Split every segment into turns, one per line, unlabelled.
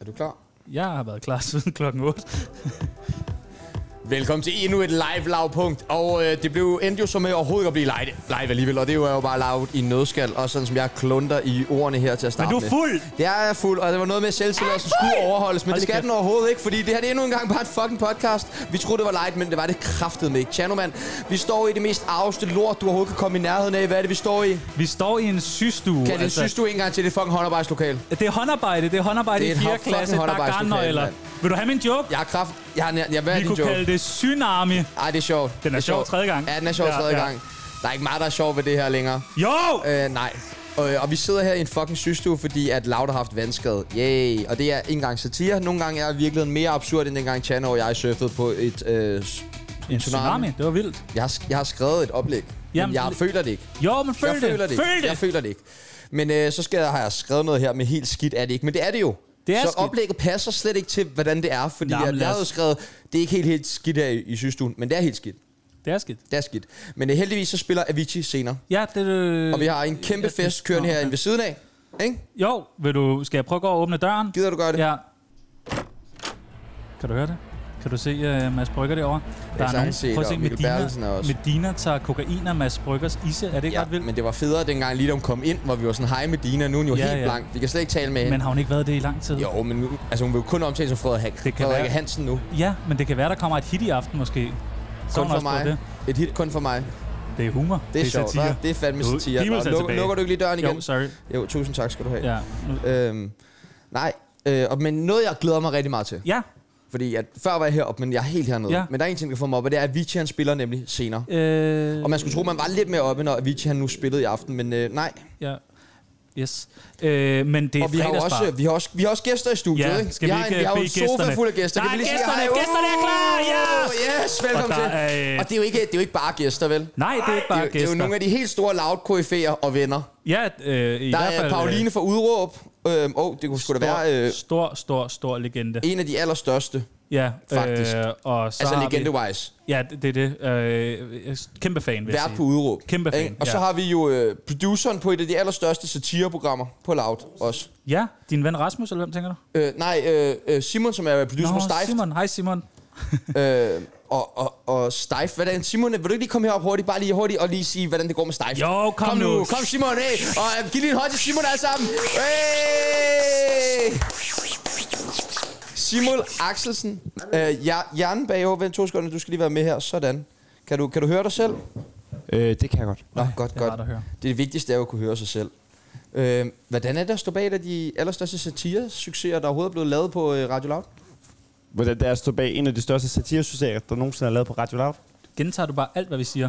Er du klar?
Jeg har været klar siden klokken 8.
Velkommen til endnu et live lavpunkt, og øh, det blev endte jo så med overhovedet at blive live, live alligevel, og det er jo er jo bare lavet i nødskal, og sådan som jeg klunter i ordene her til at
Men
starte
du er
med.
fuld!
Det er jeg fuld, og der var noget med at selvtillid, som skulle overholdes, men
Hold
det skal
kæft.
den overhovedet ikke, fordi det her det er endnu engang bare et fucking podcast. Vi troede, det var light, men det var det kraftedeme ikke. Tjano, mand, vi står i det mest arveste lort, du overhovedet kan komme i nærheden af. Hvad er det, vi står i?
Vi står i en systue. altså.
Kan det, synes du en gang til, det er fucking håndarbejdslokal?
Det er håndarbejde, det er håndarbejde
Det er
i
et
4.
fucking
klasse, der er
håndarbejdslokale,
garnnøgler. Vil du have min joke?
Jeg har kraft... Jeg, jeg, jeg, hvad er
Vi
din
kunne
joke?
kalde det tsunami.
Ej, det er sjovt.
Den er
Det
sjov tredje gang.
Ja, den er sjov
Ja,
tredje
ja.
gang. Der er ikke meget, der er sjov ved det her længere.
Jo!
Øh, nej. Og, øh, og vi sidder her i en fucking systue, fordi at Laud har haft vandskade. Yay. Og det er ikke engang satire. Nogle gange er virkeligheden mere absurd, end dengang Chano og jeg surfede på et... Øh, s-
En tsunami, det var vildt.
jeg, har, sk- jeg har skrevet et oplæg, Jamen,
Jamen,
men jeg
det-
føler det ikke.
Jo, men føl
jeg føler det ikke.
Føl
Jeg
det!
føler det ikke. Men øh, så skal jeg, har jeg skrevet noget her med helt skidt er det ikke. Men det er det jo.
Det er
så
skidt.
oplægget passer slet ikke til, hvordan det er. Fordi
Nå, men
jeg, jeg
lad os-
havde jo skrevet, det er ikke helt, helt skidt her i, i sygestuen, men det er helt skidt.
Det er skidt.
Det er skidt. Men øh, heldigvis så spiller Avicii senere.
Ja, det... Øh...
Og vi har en kæmpe
jeg synes-
fest kørende
Nå,
herinde
okay.
ved siden af. Ikke?
Jo, vil du... Skal jeg prøve at gå og åbne døren?
Gider du gøre det?
Ja. Kan du høre det? Kan du se uh, Mads Brygger derovre? Der
har jeg set,
prøv at
og
se,
Mikkel Bertelsen er
Medina,
også.
Medina tager kokain af Mads Bryggers isse. Er det ikke
Ja,
ret vildt?
men det var federe dengang, lige da hun kom ind, hvor vi var sådan, hej med Dina, nu er hun jo
Ja,
helt
ja.
blank. Vi kan slet ikke tale med hende.
Men har hun ikke været det i lang tid?
Jo, men nu, altså, hun vil jo kun omtale som Frederik,
kan
Frederik
være.
Hansen nu.
Ja, men det kan være, der kommer et hit i aften måske. Så er
Kun
hun
for
også på
mig.
Det.
Et hit kun for mig.
det er humor.
Det er, sjovt, hva'? Det er fandme
Jo,
satire.
Pibels
Nå,
er
luk,
tilbage.
lukker du ikke lige døren igen?
Jo, sorry.
Jo, tusind tak skal du have.
Ja. Nu-
Øhm, nej, øh, og- men noget, jeg glæder mig rigtig meget til.
Ja,
Fordi at, før var jeg heroppe, men jeg er helt hernede.
Ja.
Men der er en ting, der får mig op, og det er, at Avicii han spiller nemlig senere.
øh,
Og man skulle tro, man var lidt mere oppe, når Avicii han nu spillede i aften, men øh, nej.
ja. Yes. Øh, men det er
Og vi har, jo også, øh, vi, har også, vi har også gæster i studiet,
Ja,
ikke?
skal
vi,
vi
har en,
ikke
vi har jo en
bede
sofa
gæsterne?
fuld af gæster.
Der
Kan
er
vi lige sige
gæsterne!
hej? Uh!
Gæsterne er klar! Ja!
Yes, velkommen
Og der
til.
er, øh,
Og det er, jo ikke, det er jo ikke bare gæster, vel? Det
Nej, det er ikke
er,
bare
jo, det er jo
gæster.
nogle af de helt store loud koryfæer og venner.
Ja, øh, i
Der
hvert fald,
er
øh,
Pauline fra Udråb. Øhm, oh, det kunne sgu da være øh,
Stor, stor, stor, stor legende.
en af de allerstørste,
Ja,
Faktisk.
Øh, og så
altså
har
legende-wise.
Vi, ja, det det er det. Øh, kæmpe fan, vil jeg
Vært
sige.
på Udråb.
Kæmpe fan,
Ikke? Og så
ja.
har vi jo øh, produceren på et af de allerstørste satireprogrammer på Loud også.
Ja, din ven Rasmus, eller hvem tænker du?
Øh, nej, øh, øh, Simon, som er producer på Steift.
Simon. Hej, Simon.
Øh, og, og, og Steif, hvordan, Simon, vil du ikke lige komme herop hurtigt, bare lige hurtigt, og lige sige, hvordan det går med Steif?
Jo, kom
nu.
nu.
Kom Simon, hey. og øh, giv lige en hånd til Simon alle sammen. Hey! Simon Axelsen, øh, ja, hjernen bagover, vent to sekunder, du skal lige være med her, sådan. Kan du, kan du høre dig selv?
Øh, det kan jeg godt.
Nå, godt,
det er
godt.
rart at høre.
Det, er det vigtigste er jo at kunne høre sig selv. Øh, hvordan er det at stå bag et af de allerstørste satire-succeser, der overhovedet er blevet lavet på øh, Radio Loud?
Hvordan det er at stå bag en af de største satiresysterier, der nogensinde er lavet på Radio Loud?
Gentager du bare alt, hvad vi siger?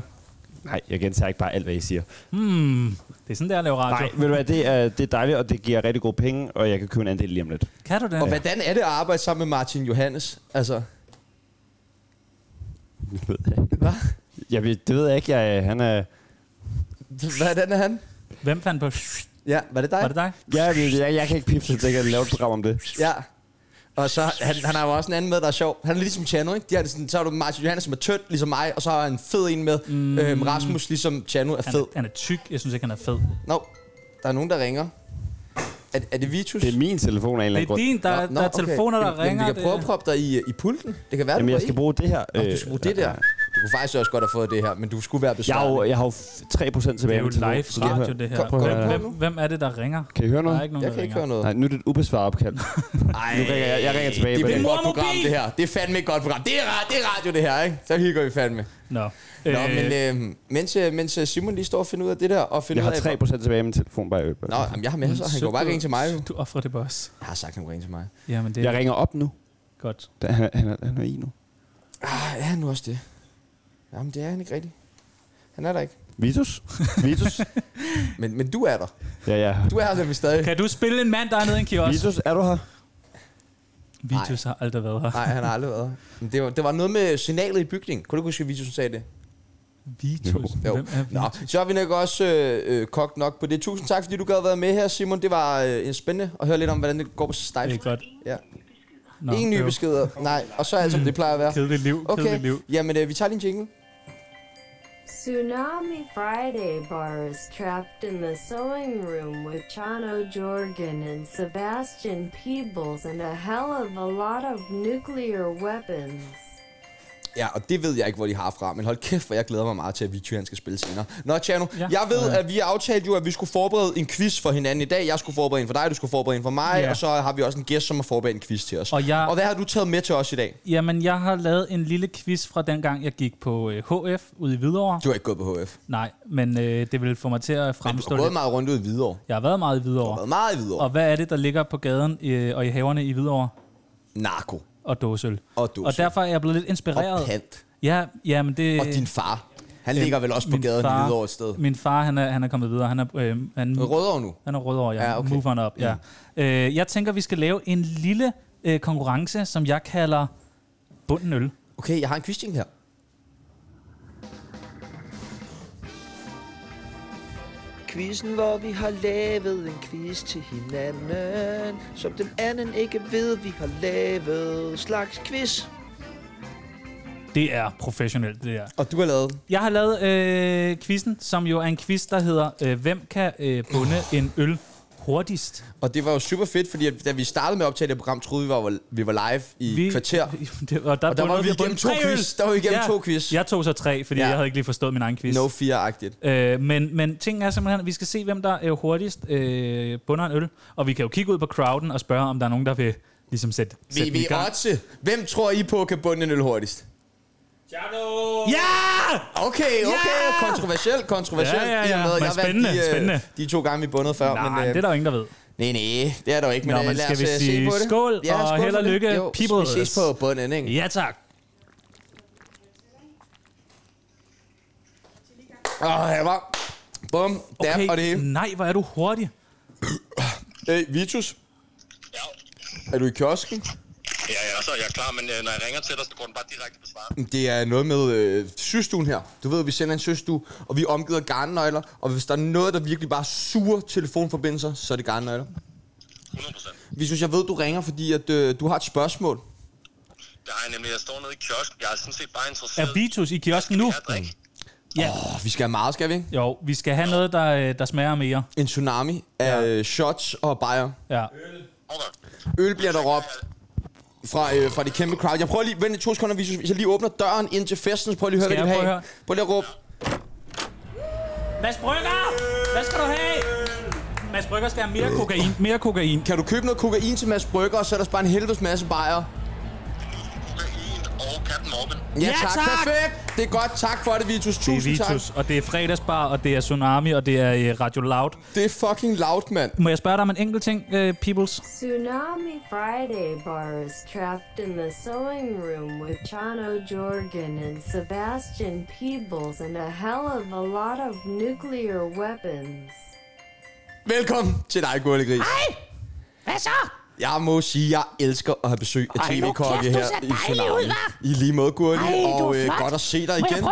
Nej, jeg gentager ikke bare alt, hvad I siger.
Hmm, det er sådan, det er at lave radio.
Nej, ved du hvad, det er, det er dejligt, og det giver rigtig gode penge, og jeg kan købe en andel lige om lidt.
Kan du det?
Og hvordan er det at arbejde sammen med Martin Johannes? Altså,
Det ved jeg ikke.
hvad?
Jeg ved, det ved jeg ikke. Jeg, han er...
Hvordan er han?
Hvem fandt på?
Ja, var det dig?
Var det dig?
Jeg, ved, jeg, jeg kan ikke pifte til at lave et program om det.
Ja. Og så, han, han har jo også en anden med, der er sjov. Han er ligesom Chano, ikke? De har det sådan, så har du Martin Johannes, som er tynd, ligesom mig, og så har han en fed en med. Mm. Øhm, Rasmus, ligesom Chano, er
Han
fed.
er, han er tyk. Jeg synes ikke, han er fed.
Nå, der er nogen, der ringer. Er, er det Vitus?
Det er min telefon af en eller anden
Det er
grund.
din, der, der er telefoner, der
Jamen,
ringer.
Jamen, vi kan prøve at
det-
proppe dig i, i pulten. Det kan være,
Jamen,
du
jeg skal bruge det her. øh,
Nå, du skal bruge det der. Du kunne faktisk også godt have fået det her, men du skulle være
Jeg har jo,
besvaret.
jeg har jo f- 3%
det
tilbage.
er jo
af min telefon,
live
så kan jeg
radio,
høre-
det her.
kom
Kom-
Hvem-
på
hvem, hvem er det, der ringer?
Kan I høre
Der
noget?
er ikke nogen,
Jeg
der
kan ikke
ringer.
høre noget.
Nej, nu er det et ubesvaret opkald.
Ej,
Nu ringer jeg- jeg ringer tilbage
Det
på
er et
den.
godt
Mormobil!
program, det her. Det er fandme et godt program. Det er, ra- det er radio, det her, ikke? Så hygger vi fandme.
Nå,
Nå, men øh, mens, øh, mens øh, Simon lige står og finder ud af det der, og finder
Jeg har
ud af...
3% tilbage af min telefon, bare i øvrigt.
Nå, jamen, jeg har med, så han
så
kan jo bare
du-
ringe til mig, jo.
Du offrer det på os.
Jeg har sagt, at han kunne ringe til mig.
Jamen, det
Jeg
er
ringer op nu.
godt.
Da- Han, er- han, er- han er i nu.
Ah, er han nu også det? Jamen, det er han ikke rigtigt. Han er der ikke.
Vitus? Vitus?
Men, men du er der.
ja, ja.
Du er her nemlig stadig.
Kan du spille en mand, der er nede i en kiosk?
Vitus, er du her?
Vitus har aldrig været her.
Nej, han har aldrig været her. Men det var, det var noget med signalet i bygningen. Kunne du ikke huske, at Vitus sagde det?
Vitus?
Jo.
Hvem er
Nå,
Vitus?
så har vi nok også øh, øh, kogt nok på det. Tusind tak, fordi du gad være med her, Simon. Det var øh, en spændende at høre lidt om, hvordan det går på
Det
Steife.
er godt.
Ja.
Nå,
Ingen nye
øv.
beskeder. Nej, og så er alt, som det plejer at være.
Kedeligt liv, kedeligt
Okay,
liv.
jamen øh, vi tager lige en jingle.
Tsunami Friday Bar is trapped in the sewing room with Chano Jorgen and Sebastian Peebles and a hell of a lot of nuclear weapons.
Ja, og det ved jeg ikke, hvor de har fra, men hold kæft, for jeg glæder mig meget til, at Vichy han skal spille senere. Nå, Tjerno, ja.
Ja.
jeg ved, at vi aftalte jo, at vi skulle forberede en quiz for hinanden i dag. Jeg skulle forberede en for dig, du skulle forberede en for mig, ja.
Ja.
og så har vi også en gæst, som har forberedt en quiz til os.
Og jeg-
og hvad har du taget med til os i dag?
Jamen, jeg har lavet en lille quiz fra dengang, jeg gik på øh, HF ude i Hvidovre.
Du har ikke gået på HF.
Nej, men øh, det vil få mig til at
Men du
fremstå
har gået
lidt.
meget rundt ud i Hvidovre.
Jeg har været meget i
Du har
Hvidovre.
været meget i Hvidovre.
Og hvad er det, der ligger på gaden øh, og i haverne i Hvidovre?
Narko.
Og dåsøl.
Og dåseøl.
og derfor er jeg blevet lidt inspireret.
Og pant.
Ja, ja, men det... Øh,
Og din far. Han ligger vel også på
min
gaden i
far-
Hvidovre et sted.
Min far, han er, han er kommet videre. Han er, øh, han,
Rødovre nu.
han er rødovre, ja.
Ja,
ja
okay. Mm.
okay. Move on up, ja. Øh, jeg tænker, vi skal lave en lille øh, konkurrence, som jeg kalder bunden øl.
Okay, jeg har en quiz jingle her.
Quizzen, hvor vi har lavet en quiz til hinanden, som den anden ikke ved, vi har lavet. Slags quiz.
Det er professionelt, det der.
Og du har lavet den.
Jeg har lavet øh, quizzen, som jo er en quiz, der hedder, øh, hvem kan øh, bunde en øl hurtigst?
Og det var jo super fedt, fordi at, da vi startede med at optage det program, troede vi, var, vi var live i vi... kvarter.
det, og der,
Og der var
bundede
vi
på
igennem to
tre øl.
quiz. Der var vi igennem
ja,
to quiz.
Jeg tog så tre, fordi
Ja.
ja. jeg havde ikke lige forstået min egen quiz.
No fear-agtigt.
Øh, men, men ting er simpelthen, at vi skal se, hvem der øh, hurtigst øh, bunder en øl. Og vi kan jo kigge ud på crowden og spørge, om der er nogen, der vil ligesom sætte,
Vi,
sætte den
vi
i gang.
Otze, hvem tror I på kan bunde en øl hurtigst?
Ja!
Okay, okay.
Ja!
Kontroversielt, kontroversielt.
Ja, ja, ja.
i og med, at
Men
jeg vandt
spændende,
de, øh,
spændende.
De to gange, vi bundede før.
Nej,
men,
men,
øh,
det er der jo ingen, der ved.
Nej, nej, det er der jo ikke, men
Nå,
øh,
men skal
lad os
vi
øh, se
sige
på det.
skål, og
skål
held
for
og
det.
lykke,
Jo,
peoples.
Vi ses på bunden, ikke?
Ja tak.
Åh, her var. Bum, dam
Okay,
og det hele.
nej, hvor er du hurtig.
Hey, Vitus. Ja. Er du i kiosken?
Ja, ja, så er jeg klar, men øh, når jeg ringer til dig, så går den bare direkte på svaret.
Det er noget med øh, systuen her. Du ved, vi sender en systue, og vi er omgivet af garnnøgler. Og hvis der er noget, der virkelig bare suger telefonforbindelser, så er det garnnøgler.
100 procent.
Vitus, jeg ved, du ringer, fordi at, øh, du har et spørgsmål.
Der har jeg nemlig, jeg står nede i kiosken. Jeg er sådan set bare interesseret.
Er Vitus i kiosken nu?
Jeg drikker.
Ja.
Oh, vi skal have meget, skal vi? ikke?
Jo, vi skal have noget, der, øh, der smager mere.
En tsunami af ja. shots og bajer.
Ja.
Okay.
Øl bliver der råbt fra, øh, fra det kæmpe crowd. Jeg prøver lige, vent i to sekunder, Vitus. Hvis jeg lige åbner døren ind til festen, så prøv lige at høre,
Skal
hvad de
jeg
vil
prøve
have.
at høre?
Prøv lige at råbe.
Mads Brygger! Hvad skal du have? Mads Brygger skal have mere kokain. Mere kokain.
Kan du købe noget kokain til Mads Brygger, og så er der bare en helvedes masse bajer?
Kokain og Captain Morgan.
Ja,
Ja,
tak.
tak.
Perfekt. Det er godt. Tak for det, Vitus.
Det
Tusind
er Vitus,
tak.
og det er fredagsbar, og det er Tsunami, og det er øh, Radio Loud.
Det er fucking loud, mand.
Må jeg spørge dig om en enkelt ting, øh, Peoples?
Tsunami Friday Bar is trapped in the sewing room with Chano Jorgen and Sebastian Peebles and a hell of a lot of nuclear weapons.
Velkommen til dig, Gurle Gris. Ej, hvad så? Jeg må sige, jeg elsker at have besøg af tv-kokke her i Tsunami. Ud, I lige måde, Gurli. Og øh, godt at se dig igen.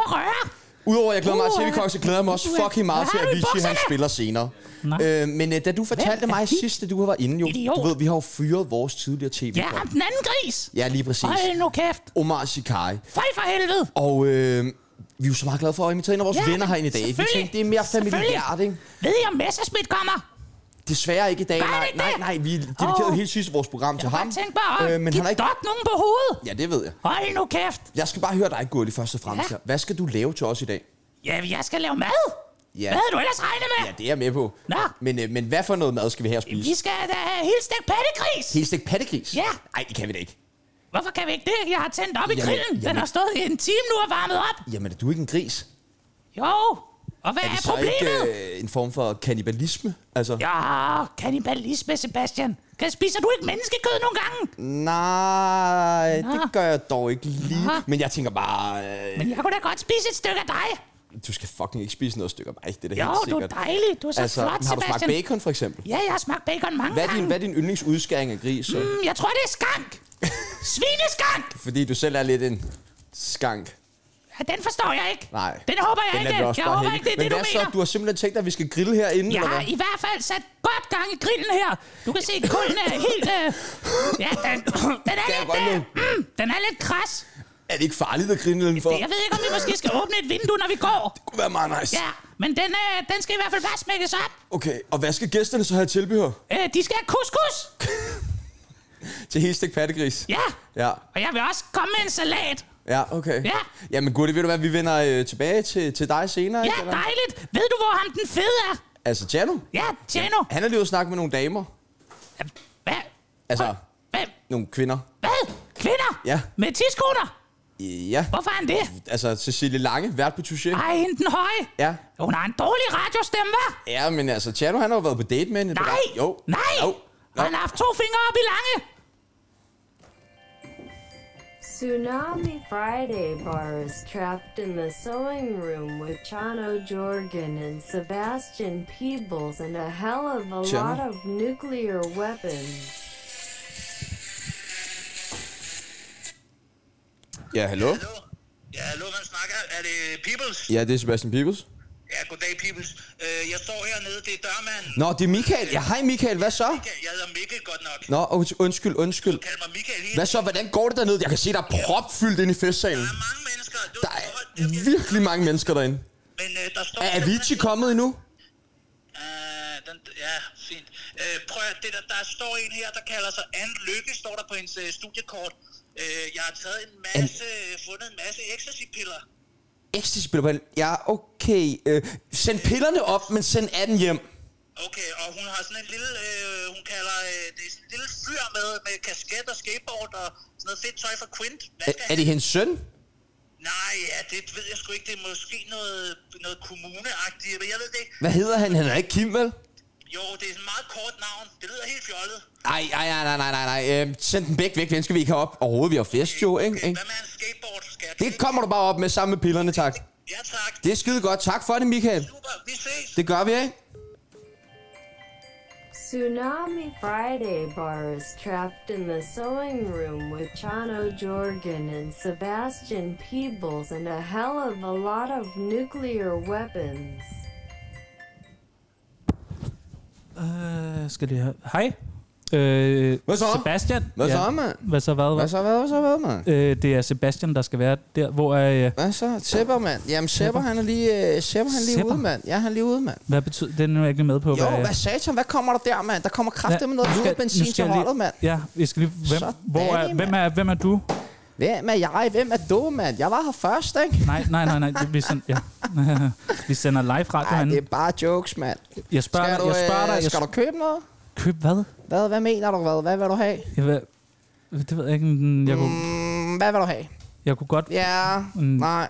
Udover at jeg glæder mig
Uh,
til tv-kokke, så glæder jeg mig også fucking meget til, at Vichy han spiller senere.
Nå.
Øh, men øh, da du fortalte mig sidst, at du var inde, jo, du
Idiot.
ved, vi har jo fyret vores tidligere
Ja, ham
tv-kokke.
den anden gris.
Ja, lige præcis.
Hold nu kæft.
Omar Sikai.
Føj for helvede.
Og øh, vi er jo så meget glade for at invitere en af vores
Ja,
venner herind i dag. Vi
selvfølgelig.
tænkte, det er mere familiært,
Selvfølgelig.
ikke?
Ved I, om Messerschmidt kommer?
Desværre ikke i dag.
Gør det
Nej,
ikke
nej,
det?
nej. Vi dedikerede
Åh.
hele sidste vores program til
Jeg
ham.
har tænkt bare at øh,
men han er ikke...
dok nogen på hovedet.
Ja, det ved jeg.
Hold nu kæft.
Jeg skal bare høre dig, Gurli, først og fremmest.
Ja.
Ja. Hvad skal du lave til os i dag?
Ja, jeg skal lave mad.
Ja.
Hvad havde du ellers regnet med?
Ja, det er jeg med på.
Nå.
Men, øh, men hvad for noget mad skal vi have at spise?
Vi skal da have helt stegt pattegris.
Helt stegt pattegris?
Ja.
Nej, det kan vi da ikke.
Hvorfor kan vi ikke det? Jeg har tændt op i
Jamen,
grillen. Den
jamen.
har stået i en time nu og varmet op.
Jamen, er du ikke en gris?
Jo. Og hvad er,
det så
problemet?
ikke øh, en form for kannibalisme? Altså,
Ja, kannibalisme, Sebastian. Kan spiser du ikke menneskekød nogle gange?
nej,
Nå.
det gør jeg dog ikke lige.
Nå.
Men jeg tænker bare, øh,
Men jeg kunne da godt spise et stykke af dig.
du skal fucking ikke spise noget stykke af mig. Det er da
Jo,
helt
du er
sikkert.
dejlig. Du er så
altså,
flot,
har du smagt
Sebastian.
bacon, for eksempel?
Ja, jeg har smagt bacon mange
Hvad er, din,
gange.
hvad er din yndlingsudskæring af gris? Så?
Mm, jeg tror, det er skank. Svineskank!
Fordi du selv er lidt en skank.
Ja, den forstår jeg ikke.
Nej.
Den håber jeg
Den
ikke.
vi også
Jeg
bare
håber
heldig.
ikke, det er
Men
det, du
hvad
mener.
så? Du har simpelthen tænkt dig, at vi skal grille herinde,
Jeg
eller
har
hvad?
i hvert fald sat godt gang i grillen her. Du kan se, at kulden er helt... Øh... Ja, den, den er
Kan jeg
lidt...
godt
Øh...
lide.
Mm, den er lidt kras.
Er det ikke farligt at grine nedenfor?
Jeg ved ikke, om vi måske skal åbne et vindue, når vi går.
Det kunne være meget nice.
Ja, men den, øh, den skal i hvert fald bare smækkes op.
Okay, og hvad skal gæsterne så have tilbehør?
Øh, de skal have couscous.
Til hele stik pattegris?
Ja,
Ja,
og jeg vil også komme med en salat.
ja okay.
Ja.
Jamen Gurti, ved du hvad, vi vender øh, tilbage til, til dig senere.
Ja,
ikke, eller?
dejligt. Ved du, hvor ham den fede er?
Altså, Tjano,
Ja, Tjeno.
han er lige ude at snakke med nogle damer.
Hvad?
Altså,
Hvem?
nogle kvinder.
Hvad? Kvinder?
Ja.
Med tidskoner?
Ja,
Hvorfor er han det?
altså Cecilie Lange, vært på Touché.
Ej, hende den høje.
Ja.
Hun har en dårlig radiostemme, hva'?
Ja, men altså, Tjano, han har jo været på date med hende.
Nej!
Jo.
Nej!
Jo.
Han har haft to fingre op i lange.
Tsunami Friday Bar is trapped in the sewing room with Chano Jorgen and Sebastian Peebles and a hell of a
Chano?
lot of nuclear weapons.
Ja, hallo?
Hallo? Ja, hallo, hvem snakker? Er det Peoples?
Ja, det er Sebastian Pibels.
Ja, goddag, Peoples. Øh, jeg står hernede, det er dørmanden.
Nå, det er Michael. Ja, hej Michael, hvad så?
Ja, Jeg hedder Mikkel godt nok.
Nå, und- undskyld, undskyld.
Kald mig Michael lige.
Hvad så, hvordan går det dernede? Jeg kan se, der er propfyldt inde i festsalen.
Der er mange mennesker. Du,
Der er virkelig mange mennesker derinde.
Men øh, der står...
Er Avicii kommet endnu?
Øh, den, ja, fint. Øh, prøv at, det der, der står en her, der kalder sig Anne Lykke, står der på hendes øh, studiekort. Øh, jeg har taget en masse, øh, fundet en masse ecstasy-piller.
Ecstasy spiller på en- Ja, okay. Øh, send pillerne op, men send 18 hjem.
Okay, og hun har sådan en lille, øh, hun kalder øh, det er sådan en lille fyr med, med kasket og skateboard og sådan noget fedt tøj fra Quint. Hvad
Er,
skal
er det hendes søn?
han- Nej, ja, det ved jeg sgu ikke. Det er måske noget, noget kommuneagtigt, men jeg ved det ikke.
Hvad hedder han? Han er ikke Kim, vel?
Jo, det er sådan et meget kort navn. Det lyder helt fjollet.
Ej, ej, nej, nej, nej, nej, nej. Øh, send den væk, væk. Den skal vi ikke have op. Overhovedet, vi har fest jo, ikke?
Okay,
ikke?
hvad med en skateboard? Skal jeg
Det kommer du bare op med sammen med pillerne, tak.
Ja, tak.
Det er skide godt. Tak for det, Michael.
Super, vi ses.
Det gør vi, ikke?
Tsunami Friday Bar is trapped in the sewing room with Chano Jorgen and Sebastian Peebles and a hell of a lot of nuclear weapons.
Øh, skal det have... Hej. Øh,
Hvad så?
Sebastian.
Hvad så, mand?
Hvad så, hvad?
Hvad så, hvad så, hvad, mand?
Øh, det er Sebastian, der skal være der, hvor er... Øh,
Hvad så? Sepper, mand. Jamen, Sepper, han er lige, øh, Sepper, han er lige
Sepper?
ude, mand. Ja, han er lige ude, mand.
hvad betyder... Den er jeg ikke lige med på.
Jo, hvad satan, hvad kommer der der, mand? Der kommer kraftigt med noget
Nu skal-
blod
nu
benzin
skal
til
jeg lige-
holdet, mand.
Ja, vi skal lige... Hvem,
Så
hvor er,
dejligt,
hvem, er, hvem er du?
Hvem er jeg? Hvem er du, mand? Jeg var her først, ikke?
Nej, nej, nej, nej. det- Vi sender, ja. vi sender live radio
Nej, det
herinde.
er bare jokes, mand.
Jeg spørger
Skal
dig,
du,
jeg spørger dig,
øh,
jeg
skal du købe noget?
køb hvad?
Hvad, hvad mener du, hvad? Hvad vil du have?
Jeg, ved- det ved jeg ikke. men Jeg kunne,
Mm, hvad vil du have?
jeg kunne godt...
Ja,
Mm.
nej.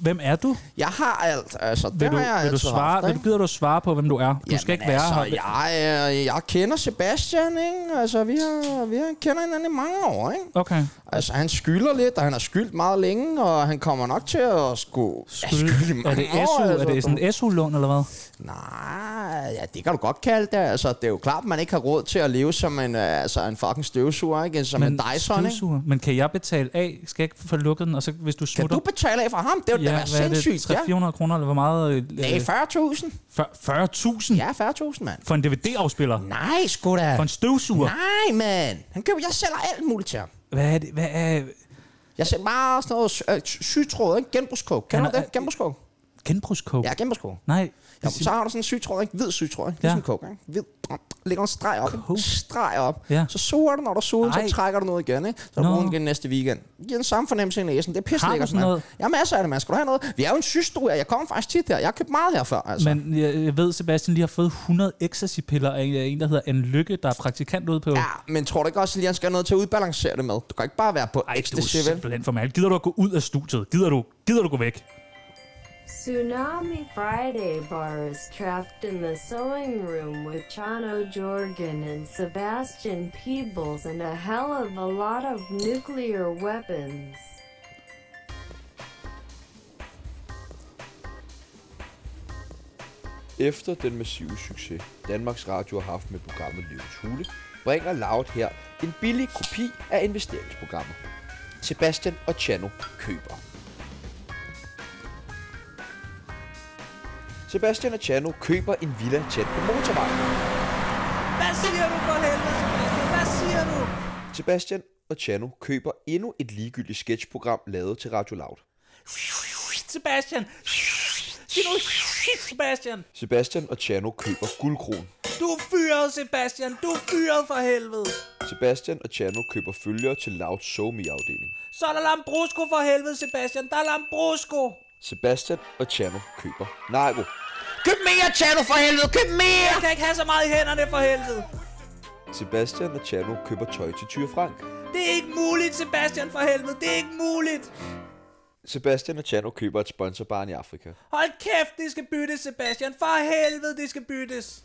Hvem er du?
Jeg har alt, altså. Det
Vil du,
har jeg
vil du
altid
svare,
haft,
vil
ikke?
du, gider du at svare på, hvem du er? Du skal ikke være
altså,
her.
Jeg, øh, jeg kender Sebastian, ikke? Altså, vi, har, vi har kender hinanden i mange år, ikke?
Okay.
Altså, han skylder lidt, og han har skyldt meget længe, og han kommer nok til at skulle... skylde i
Er det
mange år,
SU? Er
altså,
det sådan et SU-lån, eller hvad?
Nej, ja, det kan du godt kalde det. Altså, det er jo klart, man ikke har råd til at leve som en, øh, altså, en fucking støvsuger, ikke? Som en Dyson, ikke?
Mm, støvsuger. Men kan jeg betale af? Skal jeg ikke få lukket den? Og så hvis du
Kan
smutter...
du betale af fra ham? Det er jo
ja,
da være
hvad er
sindssygt, ja.
det? 300-400 kroner, eller hvor meget? Øh,
Nej, 40.000.
fyr- 40.000
Ja, 40.000, mand.
for en DVD-afspiller?
Nej, sgu da.
For en støvsuger?
Nej, mand. Han køber, jeg sælger alt muligt til ham.
Hvad er det? Hvad er
Jeg ser meget sådan noget øh, sytråd, ikke? Genbrugskog. Kender
Han
du
er- øh,
det? Genbrugskog.
genbrugskog?
Ja, genbrugskog.
Nej.
Ja,
det
så har du sådan en sytråd, ikke? Hvid sytråd, ikke? Ligesom
Ja.
en kog, ikke? Hvid. Lægger en streg op, ikke?
Kog.
Streg op.
Ja.
Så suger du, når du suger,
Ej.
så trækker du noget igen, ikke? Så
Nå.
bruger du den igen næste weekend. Giver den samme fornemmelse i næsen. Det er pisse
Har du
lækkert,
sådan
mand.
noget?
Jeg har masser af det, man. Skal du have noget? Vi er jo en systue her. Jeg kommer faktisk tit her. Jeg har købt meget her før, altså. Men,
Men jeg, jeg ved, Sebastian lige har fået 100 ecstasy-piller af en, der hedder Anne Lykke, der er praktikant ude på...
ja, men tror du ikke også, at Lian skal have noget til at udbalancere det med? Du kan ikke bare være på
Ej, du er
ecstasy, vel?
simpelthen for mal. Gider du at gå ud af studiet? Gider du, gider du gå væk?
Tsunami Friday Bar is trapped in the sewing room with Chano Jorgen and Sebastian Peebles and a hell of a lot of nuclear weapons.
Efter den massive succes, Danmarks Radio har haft med programmet Løvens Hule, bringer Loud her en billig kopi af investeringsprogrammet. Sebastian og Chano køber. Sebastian og Chano køber en villa tæt på motorvejen. Hvad siger du for helvede, Sebastian? Hvad siger du? Sebastian
og Chano køber endnu et ligegyldigt sketchprogram lavet til Radio Loud.
Sebastian! Sig nu, Sebastian!
Sebastian og Chano køber guldkron.
Du er fyret, Sebastian! Du er fyret for helvede!
Sebastian og Chano køber følgere til Louds SoMe-afdeling.
Så er der Lambrusco for helvede, Sebastian! Der er Lambrusco!
Sebastian og Chano køber narko.
Køb mere, Chano, for helvede! Køb mere!
Jeg kan ikke have så meget i hænderne for helvede!
Sebastian og Chano køber tøj til Tyre Frank.
Det er ikke muligt, Sebastian for helvede! Det er ikke muligt!
Sebastian og Chano køber et sponsorbarn i Afrika.
Hold kæft, det skal byttes, Sebastian! For helvede, det skal byttes!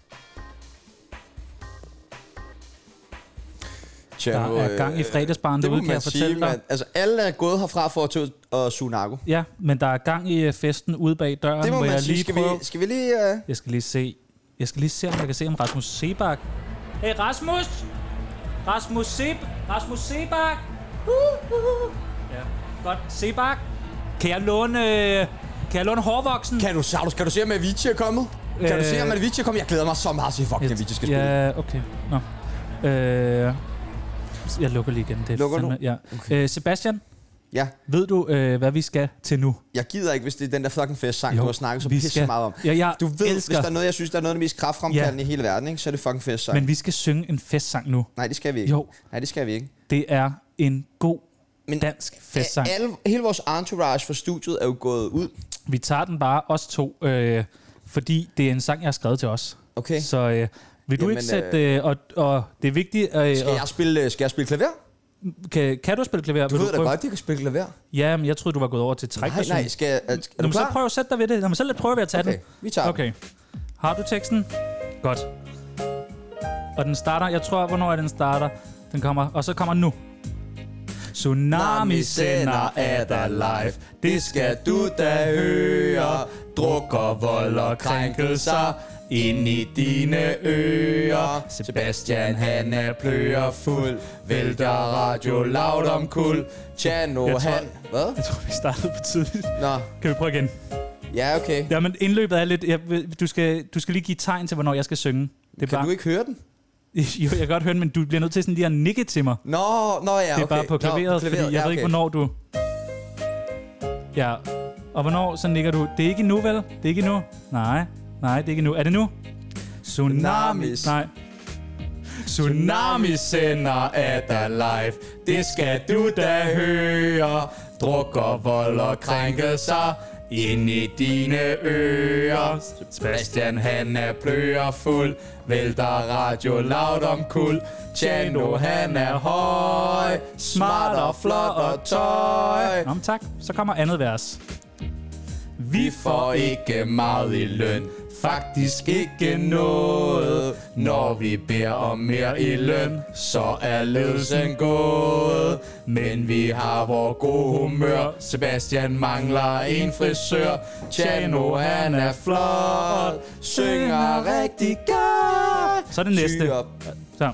Tjano,
Der er gang i fredagsbaren
øh, det
derude,
må
kan
man
jeg
sige,
fortælle dig.
mand. Altså, alle er gået herfra for at tage ud og suge narko.
Ja, men der er gang i øh, festen ude bag døren,
Det må
hvor
man
jeg
sige.
lige
Skal
prøver...
vi, skal vi lige... Uh...
Jeg skal lige se. Jeg skal lige se, om jeg kan se, om Rasmus Sebak... Hey, Rasmus! Rasmus Seb... Rasmus Sebak! Uh, uh. Ja, godt. Sebak! Kan jeg låne... øh, Kan jeg låne hårvoksen?
Kan du, Saulus, kan du se, om Avicii er kommet? Kan du se, om
Øh.
Avicii er kommet? Jeg glæder mig så meget til, at fuck, at Avicii skal spille.
Ja, okay. Nå. Øh, jeg lukker lige igen. Det er
Lukker du?
fandme, Ja. Okay. Øh, Sebastian,
Ja,
ved du, øh, hvad vi skal til nu?
jeg gider ikke, hvis det er den der fucking festsang, du har snakket så
vi
pisse meget om.
Ja, jeg
Du ved,
elsker,
hvis der er noget, jeg synes, der er noget af det mest kraftfremkaldende i hele verden, ikke? så er det fucking festsang.
Men vi skal synge en festsang nu.
Nej, det skal vi ikke.
Jo.
Nej, det skal vi ikke.
Det er en god
Men-
Men, dansk festsang.
Alle, hele vores entourage fra studiet er jo gået ud.
Vi tager den bare, os to, øh, fordi det er en sang, jeg har skrevet til os.
Okay.
Så øh, vil du
Jamen,
ikke sætte... Øh, og, og det er vigtigt... Øh,
Skal jeg
og,
spille, skal jeg spille klaver?
kan, kan du spille klaver?
Du ved da godt, at jeg kan spille klaver.
Ja, men jeg troede, du var gået over til træk.
Nej, nej, skal jeg, er,
Er
er du
Nå, men så
klar?
prøv at sætte dig ved det. Nå, men så lad- prøver vi at tage
Okay,
den.
vi tager den.
Okay. Har du teksten? Godt. Og den starter, jeg tror, hvornår er den starter? Den kommer, og så kommer den nu. Tsunami sender er der live. Det skal du da høre. Druk og vold og krænkelser ind i dine ører. Sebastian, han er pløer fuld.
Vælter radio loud om kul. Tjano,
Jeg tror-
han... Hvad?
Jeg tror, vi startede for tidligt.
Nå,
Kan vi prøve igen?
ja, okay.
Jamen, indløbet er lidt... Jeg, vil- du, skal, du skal lige give tegn til, hvornår jeg skal synge. Det er
Kan
bare,
du ikke høre den?
Jo, jeg kan godt høre den, men du bliver nødt til sådan lige at nikke til mig.
Nå, nå ja, okay.
Det er bare på klaveret,
nå,
Nå, fordi jeg
ja,
ved ikke, hvornår du... Ja, og hvornår så nikker du? Det er ikke nu, vel? Det er ikke nu. Nej, nej, det er ikke nu. Er det nu? Tsunami.
Tsunamis.
Nej. Tsunami sender er der live. Det skal du da høre. Druk og vold og krænkelser ind i dine ører. Sebastian han er pløer fuld. Vælter radio loud om kul. Tjano han er høj. Smart og flot og tøj. Nå, men tak. Så kommer andet vers. Vi får ikke meget i løn, faktisk ikke noget. Når vi beder om mere i løn, så er ledelsen gået. Men vi har vor gode humør, Sebastian mangler en frisør. Tjano han er flot, synger rigtig godt. Så er det næste. Så.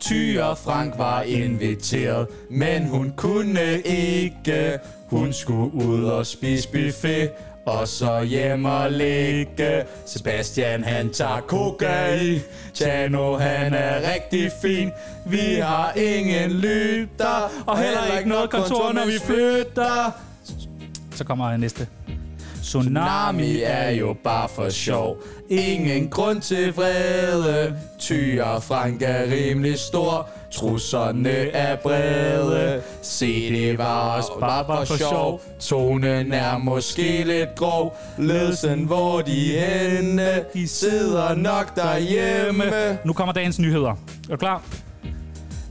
Tyre Frank var inviteret, men hun kunne ikke. Hun skulle ud og spise buffet, og så hjem og ligge. Sebastian han tager koka i, Tjano han er rigtig fin. Vi har ingen lytter, og heller ikke noget kontor, når vi flytter. Så kommer næste. Tsunami er jo bare for sjov. Ingen grund til vrede. Tyre Frank er rimelig stor. Trusserne er brede. Se, det var også bare for sjov. Tonen er måske lidt grov. Ledelsen, hvor de henne, de sidder nok derhjemme. Nu kommer dagens nyheder. Er du klar?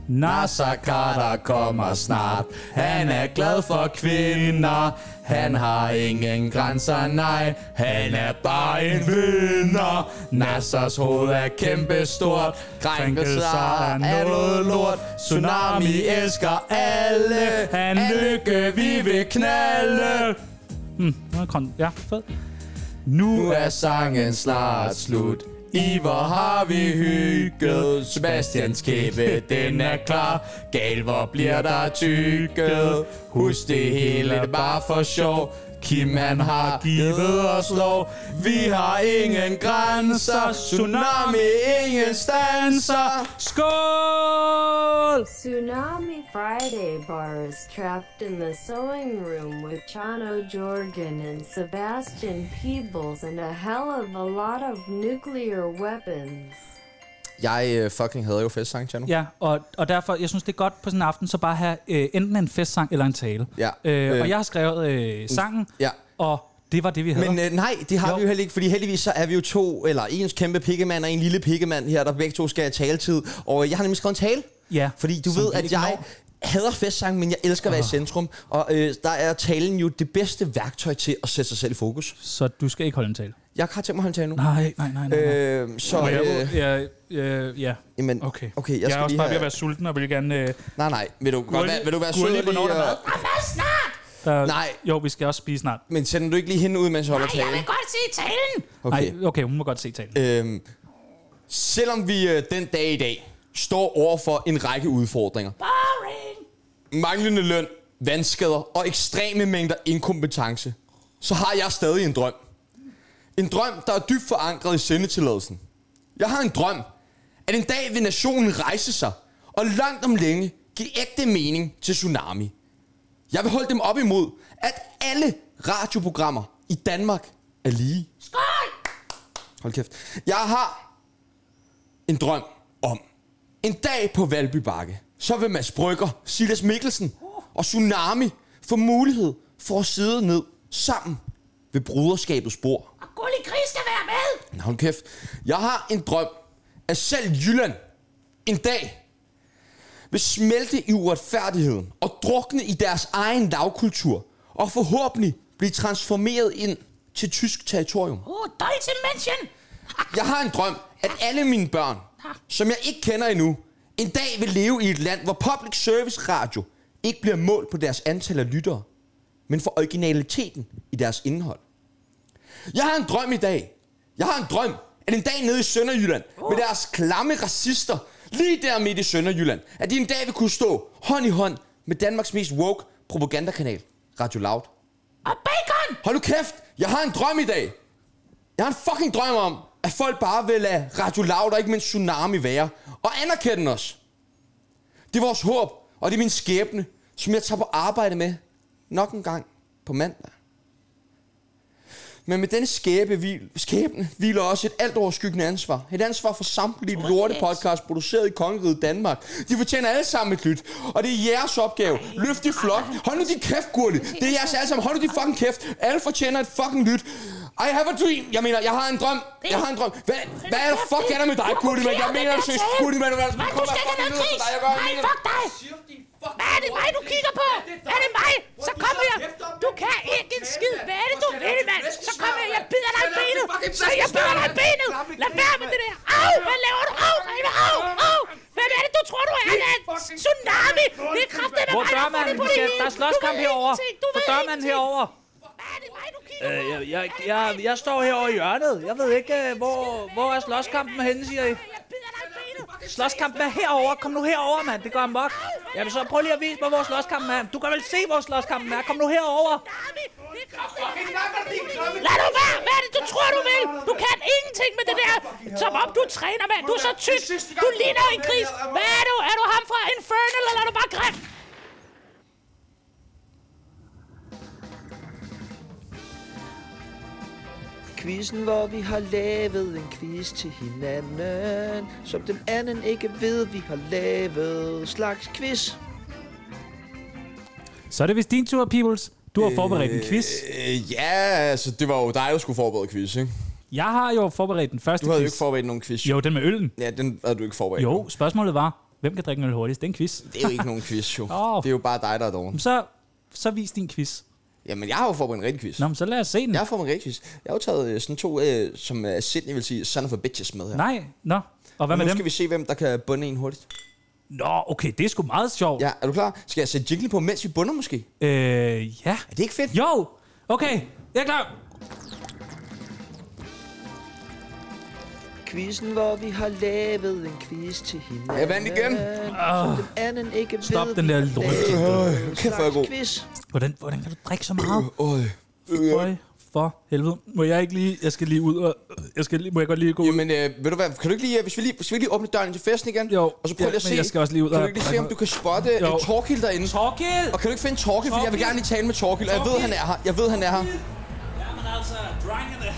Nasser Carter kommer snart. Han er glad for kvinder. Han har ingen grænser, nej. Han er bare en vinder. Nassers hoved er kæmpestort. Krænkelser er noget lort. Tsunami elsker alle. Han lykke, vi vil knalde. Hmm, ja, fed. Nu er sangen snart slut. I hvor har vi hygget Sebastians kæbe, den er klar Gal, hvor bliver der tykket Husk det hele, det er bare for sjov Kim han har givet os lov. Vi har ingen
Ah,
grænser. Ah, Tsunami ingen stanser. Skål!
Tsunami Friday Bar is trapped in the sewing room with Chano Jorgen and Sebastian Peebles and a hell of a lot of nuclear weapons.
Jeg øh, fucking havde jo festsang, Tjerno.
Ja, og, og derfor, jeg synes, det er godt på sådan en aften, så bare have øh, enten en festsang eller en tale.
Ja.
Øh,
Øh.
og jeg har skrevet øh, sangen,
Ja.
og det var det, vi havde.
Men øh, nej, det har
Jo.
jo. vi jo heller ikke, fordi heldigvis så er vi jo to, eller en kæmpe pikkemand og en lille pikkemand her, der begge to skal have taletid. Og øh, jeg har nemlig skrevet en tale,
Ja,
fordi du
som Ah.
ved,
vi
at
ikke
jeg
når.
hader festsang, men jeg elsker at være i centrum. Og øh, der er talen jo det bedste værktøj til at sætte sig selv i fokus.
Så du skal ikke holde en tale.
Jeg har tænkt mig at holde en tale nu.
Nej, nej, nej, nej. nej.
Øh, så,
Må jeg,
øh,
ja, øh, ja.
jamen,
Okay.
okay,
jeg,
jeg,
jeg
skal
er også
lige
bare
have-
ved at være sulten og vil gerne... Øh,
Nej, nej, vil du, godt,
Gurli-
være- vil du være sød
Gurli,
og
hvornår er
lige...
der der,
øh, Nej.
Jo, vi skal også spise snart.
Men sender du ikke lige hende ud, mens jeg holder
Ej, jeg
talen?
vil godt se talen.
Okay.
Nej, okay, hun må godt se talen.
Øhm, selvom vi øh, den dag i dag står over for en række udfordringer.
Boring.
Manglende løn, vandskader og ekstreme mængder inkompetence. Så har jeg stadig en drøm. En drøm, der er dybt forankret i sendetilladelsen. Jeg har en drøm, at en dag vil nationen rejse sig og langt om længe give ægte mening til Tsunami. Jeg vil holde dem op imod, at alle radioprogrammer i Danmark er lige.
Skål.
Hold kæft. Jeg har en drøm om. En dag på Valby Bakke, så vil Mads Brygger, Silas Mikkelsen og Tsunami få mulighed for at sidde ned sammen ved bruderskabets bord.
Og Gulli Gris skal være med.
Nå, Hold kæft. Jeg har en drøm, at selv Jylland en dag vil smelte i uretfærdigheden og drukne i deres egen lavkultur og forhåbentlig blive transformeret ind til tysk territorium.
Uh, Deutsche Menschen.
Jeg har en drøm, at alle mine børn, som jeg ikke kender endnu, en dag vil leve i et land, hvor public service radio ikke bliver målt på deres antal af lyttere, men for originaliteten i deres indhold. Jeg har en drøm i dag. Jeg har en drøm, at en dag nede i Sønderjylland, med deres klamme racister, lige der midt i Sønderjylland, at de en dag vil kunne stå hånd i hånd med Danmarks mest woke propagandakanal, Radio Loud.
Og bacon.
Hold nu kæft, jeg har en drøm i dag. Jeg har en fucking drøm om, at folk bare vil lade Radio Loud og ikke mindst Tsunami være. Og anerkende os. Det er vores håb, og det er min skæbne, som jeg tager på arbejde med nok en gang på mandag. Men med denne skæbe, hvil- skæbne hviler også et alt overskyggende ansvar. Et ansvar for samtlige lorte podcast produceret i Kongeriget Danmark. De fortjener alle sammen et lyt, og det er jeres opgave. Løft i flok. Hold nu din kæft, Gurli. Det er jeres alle sammen. Hold nu din fucking kæft. Alle fortjener et fucking lyt. I have a dream. Jeg mener, jeg har en drøm. Jeg har en drøm. Hvad, hvad er der fuck er der med dig, Gurli? Men jeg mener, det er Gurli, men altså,
Nej,
kom
du
her
skal ikke have
fucking
noget
videre til
gris.
dig. Jeg gør, jeg
Nej,
mener.
fuck dig. Hvad er det mig, du kigger på? Er det mig? Så kommer jeg. Du kan ikke en skid. Hvad er det, du vil, mand? Så kommer jeg. Jeg bider dig i benet. Så jeg bider dig i benet. Lad være med det der. Au, hvad laver du? Au, hvad laver Au, au. Hvad er det, du tror, du er, mand? Tsunami. Det er kraftigt med
Hvor
mig, der har fundet
dørmanden?
på
Vi
det
skal,
hele.
der er slåskamp
Du ved
herovre.
ingenting. Du
Hvor
ved
dørmanden
ingenting.
herovre?
Hvad er det mig, du kigger
Øh,
på?
jeg, jeg, jeg, jeg står herovre i hjørnet. Jeg ved ikke, øh, hvor, hvor er slåskampen henne, siger I.
Jeg bider dig i benet.
Slåskampen er herovre. Kom nu herover, mand. Det går amok. Jamen så prøv lige at vise mig, hvor slåskampen er. Du kan vel se, hvor slåskampen er. Kom nu herover.
Tsunami! Det er kraftigt. Lad nu være! Hvad er det, du tror, du vil? Du kan ingenting med det der. Som om du træner, mand. Du er så tyk. Du ligner en gris. Hvad er du? Er du ham fra Infernal, eller er du bare grim?
Quizzen, hvor vi har lavet en quiz til hinanden, som den anden ikke ved, vi har lavet. Slags quiz.
Så er det vist din tur, Peoples. Du har forberedt en quiz.
Øh, ja, altså, det var jo dig, der skulle forberede quiz, ikke?
Jeg har jo forberedt den første
Du havde jo
quiz.
ikke forberedt nogen quiz.
Jo, den med øllen.
Ja, den havde du ikke forberedt.
Jo, spørgsmålet var, hvem kan drikke en øl hurtigst? Det er en quiz.
Det er jo ikke nogen quiz, jo.
Åh.
Det er jo bare dig, der er doven.
Så, så vis din quiz.
Jamen, jeg har jo forberedt en rigtig quiz.
Nå, men så lad os se den.
Jeg har forberedt en rigtig quiz. Jeg har jo taget øh, sådan to, øh, som øh, Sydney vil sige, son of a bitches med her.
Nej, nå. Og hvad
nu
med dem?
skal vi se, hvem der kan bunde en hurtigt.
Nå, okay, det er sgu meget sjovt.
Ja, er du klar? Skal jeg sætte jingle på, mens vi bunder måske?
Øh, ja.
Er det ikke fedt?
Jo, okay, jeg er klar.
Quizzen, hvor vi har lavet en quiz til hinanden.
Jeg vandt igen.
Som den anden ikke
Stop
ved,
den
vi
der
har
lort.
lavet.
Øh, Kæft, hvor er jeg god.
Slags quiz.
Hvordan, hvordan kan du drikke så meget?
Øj.
Føj for helvede. Må jeg ikke lige... Jeg skal lige ud og... Jeg skal lige, må jeg godt lige gå ud?
Jamen, øh, ved du hvad, kan du ikke lige, øh, hvis vi lige, skal vi lige åbne døren ind til festen igen?
Jo,
Og så
ja,
prøv lige at
men
se,
jeg skal også lige ud
kan
og-
du ikke lige se, om du kan spotte øh,
Jo.
Torkild derinde?
Torkild!
Og kan du ikke finde Torkild, for jeg vil
Torkild!
gerne lige tale med Torkild, og jeg ved, han er her. Jeg ved, han er her.
Jamen altså, drengene.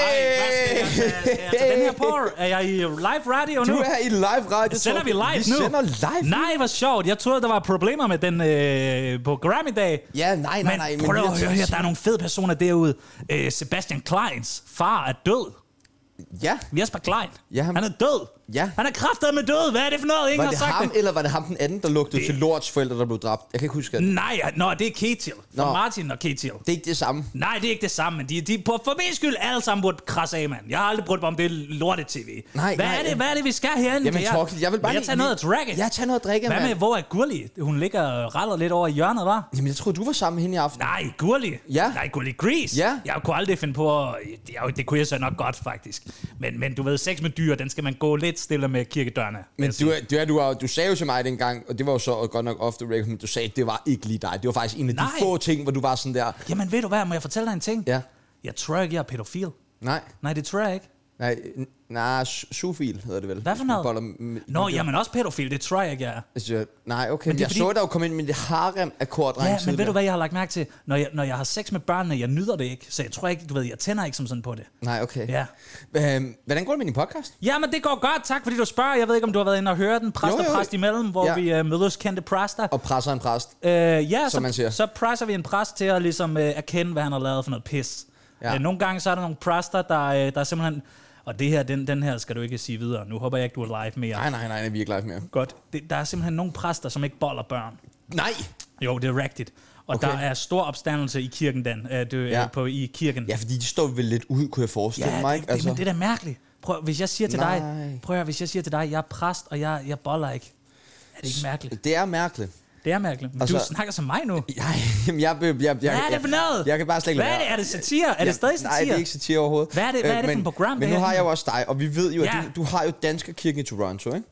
Hey!
Til den her por, er jeg i live radio nu?
Du er i live radio,
Sender vi live
Torkild. vi
nu?
sender live nu.
Nej, hvor sjovt. Jeg troede, der var problemer med den øh, på Grammy-dag.
Ja, nej, nej, nej.
Men prøv
vi
at
har
høre
tid
her,
til-
der er nogle fede personer derude. Øh, Sebastian Kleins far er død.
Ja,
Jesper Klein.
Ja, ham-
Han er død.
Ja.
Han er kraftet med død. Hvad er det for noget, ingen
var
har
det
sagt
ham,
det?
eller var det ham den anden, der lugtede til Lorts forældre, der blev dræbt? Jeg kan ikke huske det.
Nej, ja, nå, det er Ketil. Fra
Nå.
Martin og Ketil.
Det er ikke det samme.
Nej, det er ikke det samme, men de, de på, for min skyld alle sammen burde krasse af, mand. Jeg har aldrig brugt mig om det lorte tv.
Nej,
hvad,
nej,
er det,
ja.
hvad er det, vi skal herinde?
Jamen,
Kan
Torkild, jeg vil
Må
bare
jeg
lige-
tage noget at drikke?
Jeg tager noget at drikke,
Hvad med,
mand.
hvor er Gurli? Hun ligger og raller lidt over i hjørnet, var?
Jamen, jeg troede, du var sammen med hende i aften.
Nej, Gurli.
Ja.
Nej, Gurli Grease.
Ja.
Jeg kunne aldrig finde på at... Jeg, det kunne jeg så nok godt, faktisk. Men, men du ved, sex med dyr, den skal man gå lidt stille med kirkedørene.
Men du, er- du, er, du, er, du sagde jo til mig dengang, og det var jo så godt nok off the record, men du sagde, at det var ikke lige dig. Det var faktisk en af
Nej.
de få ting, hvor du var sådan der,
Jamen, ved du hvad? Må jeg fortælle dig en ting?
ja,
Jeg tror ikke, jeg er pædofil.
nej,
Nej, det tror jeg ikke.
nej, n- nej, su- sufil hedder det vel.
Hvad for
Hvis man
noget?
boller med-
Nå, jamen også pædofil, det tror jeg ikke, jeg er.
Altså, nej, okay, men
det er
jeg
fordi-
så dig jo komme ind med det harem af kordreng
Ja, men ved du hvad, jeg har lagt mærke til? Når jeg, når jeg har sex med børnene, jeg nyder det ikke. Så jeg tror ikke, du ved, jeg tænder ikke som sådan på det.
Nej, okay.
Ja.
Øhm, hvordan går det med din podcast?
Jamen, det går godt. Tak, fordi du spørger. Jeg ved ikke, om du har været inde og høre den. Præst
Jo,
og
jo.
præst imellem, hvor
Ja.
ja. vi øh, mødes kendte præster.
Og presser en præst.
Øh, ja,
man siger.
så, så presser vi en præst til at ligesom, øh, erkende, hvad han har lavet for noget pis.
Ja.
Ja. Øh, nogle gange så er der nogle præster, der, øh, der er simpelthen... Og det her, den, den her skal du ikke sige videre. Nu håber jeg ikke, du er live mere.
Nej, nej, nej, det er virkelig live mere.
Godt. Det, der er simpelthen nogle præster, som ikke boller børn.
Nej!
Jo, det er rigtigt. Og
Okay.
okay. der er stor opstandelse i kirken, den, øh, det,
Ja.
ja. på, i kirken.
Ja, fordi de står vel lidt ud, kunne jeg forestille
Ja,
mig.
det,
ikke?
det, altså. men det er da mærkeligt. Prøv, hvis jeg siger til
Nej.
dig, prøv at, høre, hvis jeg siger til dig, jeg er præst, og jeg, jeg boller ikke. Er det ikke mærkeligt?
det er mærkeligt.
Det er mærkeligt. Men
Altså-
du snakker som mig nu.
Jeg, jamen, jeg, jeg, jeg, jeg,
Hvad er det for noget?
Jeg, jeg kan bare slet ikke
Hvad
lade
er det?
være.
Er det satire? Er det stadig satire?
Nej, det er ikke satire overhovedet. Øh,
Hvad er det- hvad er det for
men,
et program,
Men
det
nu
her?
har jeg jo også dig, og vi ved jo, at
Ja.
du, du har jo Danskerkirken i Toronto, ikke?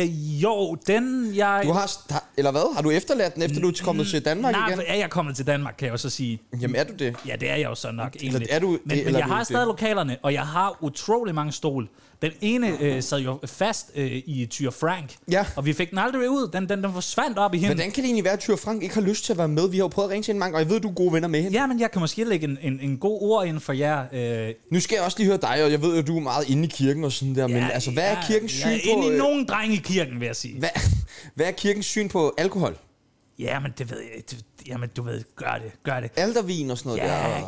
Øh, jo, den jeg...
Du har, har- eller hvad? Har du efterladt den, efter du er kommet til Danmark
Nej,
igen?
er jeg kommet til Danmark, kan jeg jo så sige.
Jamen er du det?
Ja, det er jeg jo så nok egentlig.
er du det,
men, men
eller er
jeg
du
har
ikke
stadig
det?
lokalerne, og jeg har utrolig mange stole. Den ene øh, sad jo fast øh, i Tyre Frank,
Ja.
og vi fik den aldrig ud. Den, den, den forsvandt op i himlen.
Hvordan kan det egentlig være, at Tyre Frank ikke har lyst til at være med? Vi har jo prøvet at ringe til hende mange, og jeg ved, du er gode venner med hende.
Ja, men jeg kan måske lægge en, en, en god ord ind for jer. Øh,
Nu skal jeg også lige høre dig, og jeg ved, at du er meget inde i kirken og sådan der, men
ja,
altså, hvad er
jeg-
kirkens
Jeg
syn
er
på...
inde i
øh,
nogen dreng i kirken, vil jeg sige.
Hvad, hvad er kirkens syn på alkohol?
Ja, men det ved jeg. Det, jamen, du ved, gør det, gør det.
Aldervin og sådan noget der?
Ja,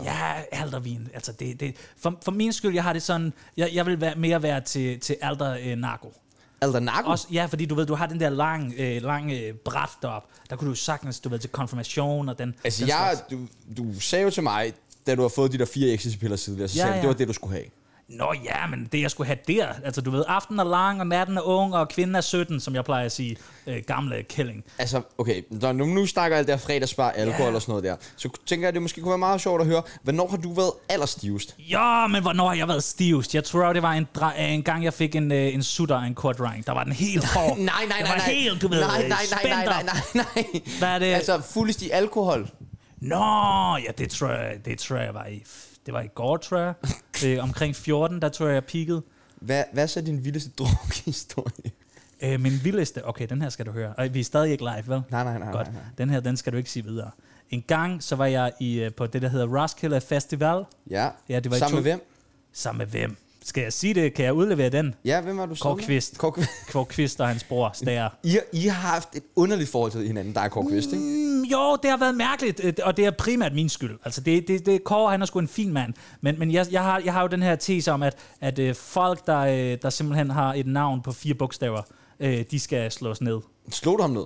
ja, aldervin. Altså, det, det, for, for min skyld, jeg har det sådan, jeg, jeg vil være, mere være til, til alder øh, narko.
Alder narko?
Også, ja, fordi du ved, du har den der lang, øh, lang øh, bræt derop. Der kunne du jo sagtens, du ved, til konfirmation og den...
Altså,
den
jeg,
slags.
du, du sagde jo til mig, da du har fået de der fire ecstasy-piller tidligere, så
Ja,
sagde du,
ja.
det var det, du skulle have.
Nå ja, men det jeg skulle have der, altså du ved, aftenen er lang, og natten er ung, og kvinden er 17, som jeg plejer at sige, øh, gamle kælling.
Altså, okay, når nu, nu snakker alt der fredagsbar, alkohol
Ja.
og sådan noget der, så tænker jeg, at det måske kunne være meget sjovt at høre, hvornår har du været allerstivest?
Ja, men hvornår har jeg været stivest? Jeg tror, det var en, dre- en gang, jeg fik en, øh, en sutter af en kort rank. Der var den helt hård.
Nej, nej,
Den
nej,
var
nej.
helt, du ved,
nej, nej,
øh,
nej,
spændt
nej, nej,
op.
nej, nej.
Hvad er det?
Altså, fuldest i alkohol.
Nå, ja, det tror jeg, det tror jeg var i... Det var i går, tror jeg. Øh, omkring 14, der tror jeg, jeg peakede.
Hvad, hvad er så din vildeste drukhistorie?
Øh, min vildeste... Okay, den her skal du høre. Og vi er stadig ikke live, vel?
Nej, nej, nej,
Godt.
nej, nej.
Den her, den skal du ikke sige videre. En gang, så var jeg i, øh, på det, der hedder Roskilde Festival.
Ja,
Ja, det var i
sammen
to-
med hvem?
Sammen med hvem? Skal jeg sige det? Kan jeg udlevere den?
Ja, hvem var du sammen med?
Kåre Kvist.
Kåre-
Kvog Kvist og hans bror, Stager.
I, I har haft et underligt forhold til hinanden, der er Kåre Kvist, ikke?
Mm, jo, det har været mærkeligt, øh, og det er primært min skyld. Altså, det, det, det Kåre, han er sgu en fin mand. Men, men jeg, jeg, har, jeg har jo den her tese om, at, at øh, folk, der, øh, der simpelthen har et navn på fire bogstaver, øh, de skal slås ned.
Slå du ham ned?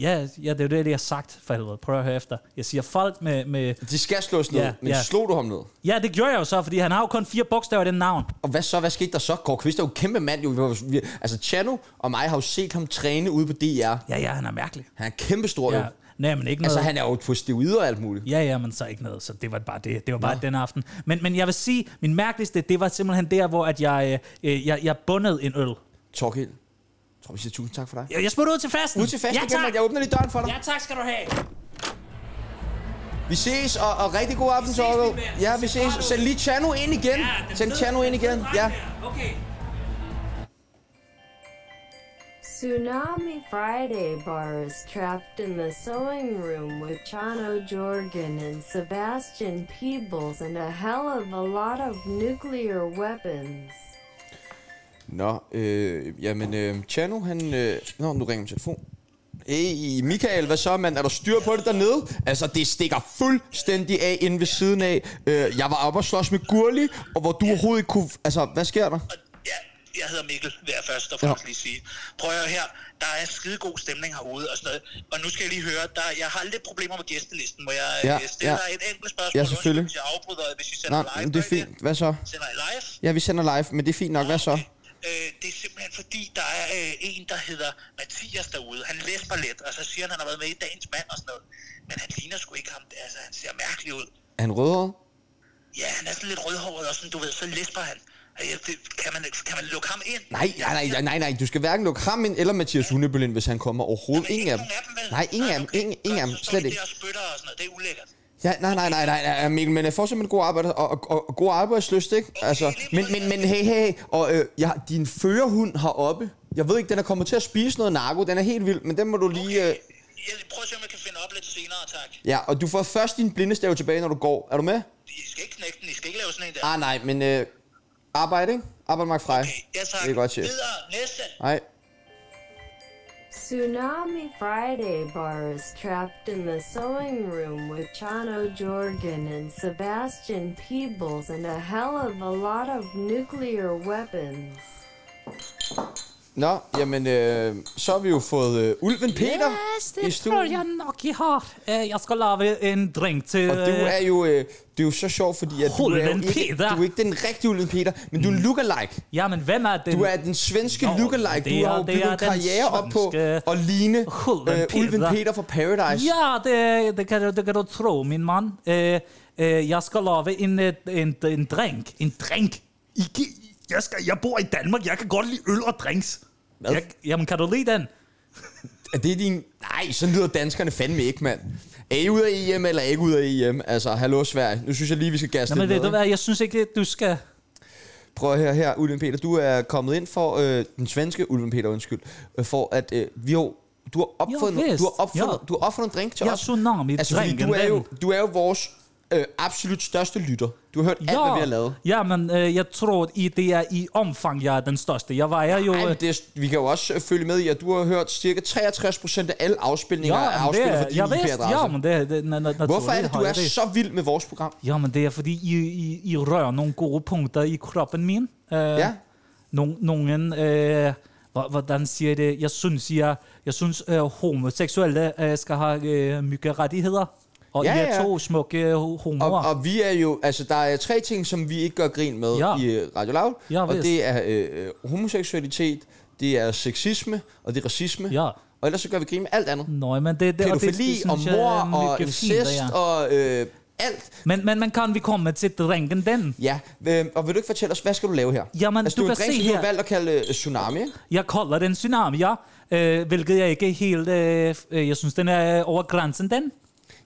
Ja, ja, det er jo det, jeg har sagt, for helvede. Prøv at høre efter. Jeg siger folk med... med
De skal slås ned,
Ja,
men
ja.
slog du ham ned?
ja, det gjorde jeg jo så, fordi han har jo kun fire bogstaver i den navn.
Og hvad så? Hvad skete der så? Kåre Kvist er jo en kæmpe mand. Jo. Vi har- Vi, altså, Chano og mig har jo set ham træne ude på DR.
Ja, ja, han er mærkelig.
Han er kæmpestor, ja.
Ja,
jo.
nej, men ikke noget.
Altså, han er jo på steroider og alt muligt.
Ja, ja, men så ikke noget. Så det var bare det. Det var bare den aften. Men, men jeg vil sige, min mærkeligste, det var simpelthen der, hvor at jeg, øh, jeg, jeg bundede en øl.
Torgild, jeg tror, vi siger tusind tak for dig.
Jeg, jeg smutter ud til festen.
Ud til festen
ja,
igen,
tak.
mand. Jeg åbner lige døren for dig.
Ja, tak skal du have.
Vi ses, og, og rigtig god aften, Torgo.
mand.
Ja, vi ses.
Separado.
Send lige Chano ind igen.
den
Send
fede-
Chano ind
den fede
igen.
dreng
Ja.
der. Okay.
Tsunami Friday Bar is trapped in the sewing room with Chano Jorgen and Sebastian Peebles and a hell of a lot of nuclear weapons.
Nå, øh, jamen, øh, Chano, han... Øh, nå, nu ringer min telefon. Hey, Michael, hvad så, mand? Er der styr på det dernede? Altså, det stikker fuldstændig af inde ved siden af. Øh, jeg var oppe og slås med Gurli, og hvor du overhovedet ikke kunne... Altså, hvad sker der?
Og ja, jeg hedder Mikkel, vil jeg først og fremmest lige sige. Prøv at høre her, der er skidegod stemning herude og sådan noget. Og nu skal jeg lige høre, der, jeg har lidt problemer med gæstelisten. Må jeg
Ja,
ja, stille
ja.
ja. dig et enkelt spørgsmål?
Ja, selvfølgelig.
Undskyld, Hvis jeg afbryder, hvis I sender
Nej,
live.
men det er
gør I
fint. Hvad så?
Sender I live?
Ja, vi sender live, men det er fint nok. Hvad så?
Øh, det er simpelthen fordi, der er øh, en, der hedder Mathias derude. Han læser lidt, og så siger han, at han har været med i dagens mand og sådan noget. Men han ligner sgu ikke ham. Altså, han ser mærkelig ud.
Er han rødhåret?
Ja, han er sådan lidt rødhåret og sådan, du ved, så læsper han. Øh, Ja, det, kan, man, kan man lukke ham ind?
Nej, nej, nej, nej, nej, nej. Du skal hverken lukke ham ind eller Mathias Hundebøl ind, hvis han kommer overhovedet.
Men
Ingen af dem.
nogen vel?
Nej, ingen af dem.
okay.
Ingen, ingen af dem.
Så står
Slet
de
ikke.
der og spytter og sådan noget. Det er ulækkert.
Ja, nej, nej, nej, nej, nej, Mikkel, men jeg får simpelthen god arbejde og, og, og, og god arbejdsløst, ikke? Altså, men, men, men hey, hey, hey, og øh, jeg, din førerhund heroppe, jeg ved ikke, den er kommet til at spise noget narko, den er helt vild, men den må du lige... Øh,
Jeg prøver at se, om jeg kan finde op lidt senere, tak.
ja, og du får først din blindestave tilbage, når du går. Er du med?
I skal ikke knække den, I skal ikke lave sådan en der.
Ah, nej, men øh, arbejde, ikke? Arbejde, Mark Frey.
Okay, ja tak.
Det er godt, chef.
Videre, næste.
Nej.
Tsunami Friday Bar is trapped in the sewing room with Chano Jorgen and Sebastian Peebles and a hell of a lot of nuclear weapons.
Nå, jamen, øh, så har vi jo fået øh, Ulven Peter
Yes,
i
det tror
stuen.
jeg nok, I har. Øh, Jeg skal lave en drink til...
Og du
øh,
er jo, øh, det er jo så sjovt, fordi at du, er jo
Ulven
ikke, du
Peter.
er ikke den rigtige Ulven Peter, men
Mm.
du er en lookalike.
Jamen, hvem er den?
Du er den svenske
Nå, det
lookalike. Du har
er-
jo
det
bygget
er
en
den
karriere op på
svenske
at ligne
Ulven
øh, Ulven
Peter.
Peter fra Paradise.
Ja, det, det, kan, du- det kan du tro, min mand. Øh, øh, jeg skal lave en, øh, en, en drink. En drink?
I, gi- jeg, skal, jeg bor i Danmark, jeg kan godt lide øl og drinks.
Hvad?
Jeg, jamen, kan du lide den?
Er det din... Nej, så lyder danskerne fandme ikke, mand. Er I ude af EM, eller er I ikke ude af EM? Altså, hallo Sverige. Nu synes jeg lige, vi skal gasse
Nå, men ved
lidt
du
ned.
hvad, jeg synes ikke, du skal...
Prøv at høre her, Ulven Peter. Du er kommet ind for øh, den svenske Ulven Peter, undskyld. Øh, for at øh, vi har... Du har opfundet,
vist.
du har opfundet,
Uh, Ja.
du har opfundet en drink til
Jeg
os.
tsunami
Altså, fordi
drinken,
du er,
den.
jo, du er jo vores øh, absolut største lytter. Du har hørt alt, hvad vi har lavet.
Ja, men øh, jeg tror, i det er i omfang, jeg er den største. Jeg vejer jo...
Ej,
øh,
men det er, vi kan jo også øh, følge med i, at du har hørt cirka 63% af alle afspilninger
men
er afspillet
det-
fra din
jeg vidste,
IP-adresse.
ja, men det, det, na, na,
Hvorfor er det,
naturligt
du
har
er
jeg det.
så vild med vores program?
Jamen, det er fordi, I, I, I rører nogle gode punkter i kroppen min. Uh,
Ja.
Nogen, nogen øh, hva- hvordan siger jeg det? Jeg synes, jeg, jeg synes øh, homoseksuelle øh, skal have øh, mye rettigheder. Og
Ja,
ja, I er
ja.
to smukke ho-
Og,
homoer.
og vi er jo, altså der er tre ting, som vi ikke gør grin med
Ja.
i øh, Radio Loud.
Ja,
og
vist.
det er øh, øh, homoseksualitet, det er sexisme, og det er racisme.
Ja.
Og ellers så gør vi grin med alt andet.
Nå, men det, det, og det,
Pædofili
det,
og
synes jeg er
mor og
mye fint,
incest
det er.
og øh, alt.
Men, men, men kan vi komme til drinken den?
Ja, øh, og vil du ikke fortælle os, hvad skal du lave her?
Jamen,
altså,
du
det er jo
kan
en
se
drink, som du har
her-
valgt at kalde øh, Tsunami. ikke?
Jeg kalder den tsunami, ja. Øh, hvilket jeg ikke helt... Øh, f- øh, jeg synes, den er over grænsen, den.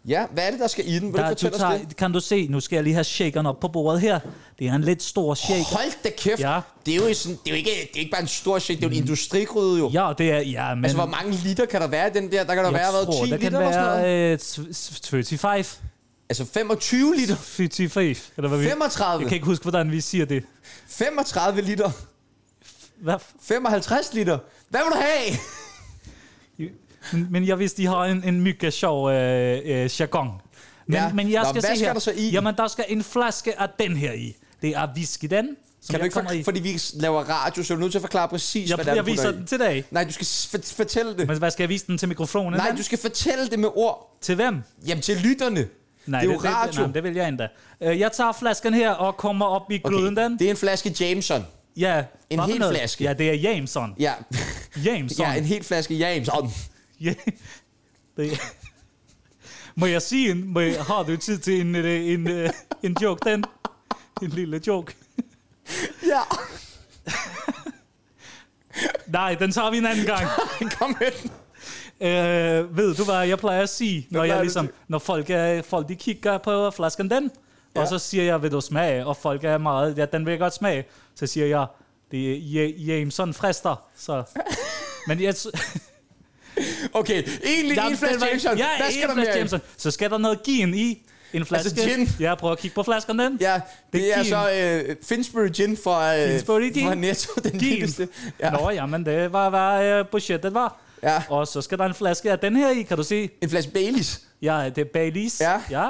Ja, hvad er det, der skal i den? Vil du
Der, du
fortælle os det?
tager, kan du se, nu skal jeg lige have shakeren op på bordet her. Det er en lidt stor shaker.
Hold da kæft.
Ja. Mm.
Det er jo, sådan, det er jo ikke, det er ikke bare en stor shit, det er jo en industrigryde jo.
Ja, det er, ja, men...
Altså, hvor mange liter kan der være i den der? Der kan der
jeg
være hvad,
tror,
10
der
liter
kan
eller sådan noget.
være øh, tw- tw- 35.
Altså 25 liter.
35, eller hvad vi...
35.
Jeg kan ikke huske, hvordan vi siger det.
35 liter.
Hvad? f-
55 liter. Hvad vil du have?
Men, men jeg vidste, de har en, en mygge sjov øh, øh, jargon. Men,
Ja.
men jeg
Nå,
skal
hvad
se
skal
her.
der så i?
Jamen, der skal en flaske af den her i. Det er whisky, den, som
Kan du
jeg
ikke
kommer i.
for, fordi vi laver radio, så er du nødt til at forklare præcis, hvad
Jeg,
det er,
jeg
du putter
viser
i.
den til dig.
Nej, du skal s- for- fortælle det.
Men hvad skal jeg vise den til mikrofonen?
Nej,
den?
du skal fortælle det med ord.
Til hvem?
Jamen, til lytterne.
Nej,
det er jo radio.
Det, nej, det vil jeg endda. Øh, Jeg tager flasken her og kommer op i gryden den.
det er en flaske Jameson.
Ja, hvad
En
for
hel
noget?
flaske.
Ja, det er Jameson.
Ja.
Jameson.
ja, en hel flaske Jameson.
Ja. Det. Må jeg sige en... Må jeg, har du tid til en, øh, en, øh, en joke, den? En lille joke.
Ja,
Nej, den tager vi en anden gang.
kom med den.
Øh, ved du, hvad jeg plejer at sige, når,
plejer
jeg
du
ligesom,
til?
når folk, er, folk de kigger på flasken den, ja. og så siger jeg, vil du smage? Og folk er meget, ja, den vil jeg godt smage. Så siger jeg, det er Je- Jameson frister. Så. Men jeg,
Okay, egentlig en flaske Jameson.
Ja,
Hvad
skal
skal
en
der
flaske
mere i? Altså
Jameson. Så skal der noget gin i. En flaske.
gin.
Ja, prøv at kigge på flasken den.
Ja, det,
Det er
det er
gin.
så øh, Finsbury Gin fra, øh,
Finsbury Gin.
fra Netto, den
Gin.
billigste.
Ja.
Ja.
Nå, jamen, det var, hvad øh, budgettet var.
Ja.
Og så skal der en flaske af den her i, kan du se.
En flaske Baileys.
Ja, det er Baileys.
Ja.
ja.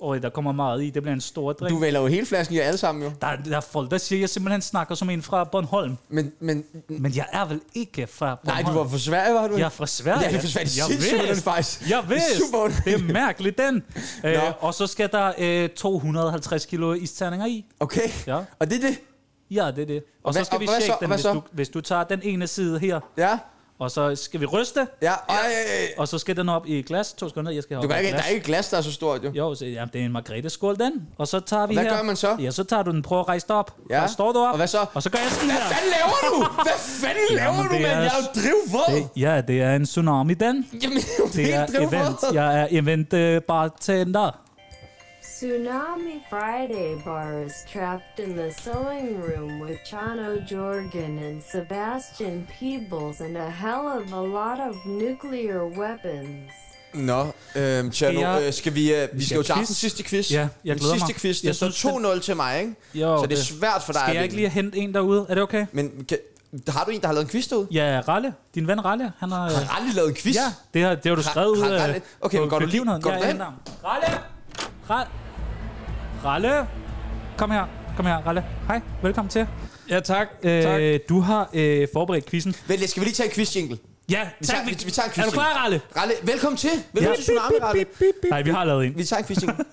Og der kommer meget i. Det bliver en stor drink.
Du vælger jo hele flasken, jeg alle sammen jo.
Der, der er folk, der siger, at jeg simpelthen snakker som en fra Bornholm.
Men, men
Men jeg er vel ikke fra
nej,
Bornholm.
du var for Sverige, var du?
Jeg er fra Sverige.
Ja, det er fra Sverige. Det er
Jeg
sindssygt,
vidste.
den faktisk.
Jeg
Det er
ved.
super underligt.
det er mærkeligt, den. Æ, og så skal der øh, 250 kilo isterninger i.
Okay,
Ja.
og det er det.
Ja, det er det. Og, og så
hvad-
skal
og
vi
hvad så?
shake den,
Hvad
hvis
så?
du, hvis du tager den ene side her.
Ja,
Og så skal vi ryste,
ja. Ej, øh,
og så skal den op i et glas. To sekunder, jeg skal have
du
op i
kan
et
ikke, der
glas.
er ikke et glas, der er så stort jo.
Jo, så, ja, det er en margrethe-skål, den. Og så tager vi
Hvad
her.
gør man så?
Ja, så tager du den, prøver at rejse dig op.
Ja.
Og står du op.
Og hvad så?
Og så gør jeg sådan her.
Hvad fanden laver du? Hvad fanden laver
Jamen,
du,
det
mand?
er-
Jeg er jo drivvåd.
Det, ja, det er en tsunami, den.
Jamen, jeg er jo
Det er
helt drivvåd.
event. Jeg er event øh, bartender.
Tsunami Friday Bar is trapped in the sewing room with Chano Jorgen and Sebastian Peebles and a hell of a lot of nuclear weapons.
Nå, øhm, Tjerno,
Skal jeg-
øh, skal vi, øh, vi skal jo til
quiz?
aftens sidste quiz.
Ja, jeg
Den
glæder
sidste
mig.
quiz,
Jeg
det står
synes, den-
2-0 til mig, ikke?
Jo,
så det er
det-
svært for dig
Skal jeg
at
ikke
vinde.
lige hente en derude? Er det okay?
Men kan, har du en, der har lavet en quiz derude?
Ja, Ralle. Din ven Ralle, han har...
Jeg har aldrig lavet en quiz.
Ja, det har, det har du
Ra-
skrevet øh, ud
Ra-
af...
Ralle. Okay, men går du lige- går du
ja, jeg
derhen?
henter ham. Ralle! Ralle! Ralle! Kom her. Kom her, Ralle. Hej, velkommen til.
Ja, tak.
Øh,
tak.
Du har øh, forberedt quizzen.
Vent lidt, skal vi lige tage en quiz jingle?
Ja,
Vi tager, vi, vi tager en quiz
Er du klar, Ralle?
Ralle, velkommen til. Velkommen
Ja.
til Tsunami, Ralle.
Nej, vi har lavet en.
Vi tager en quiz jingle.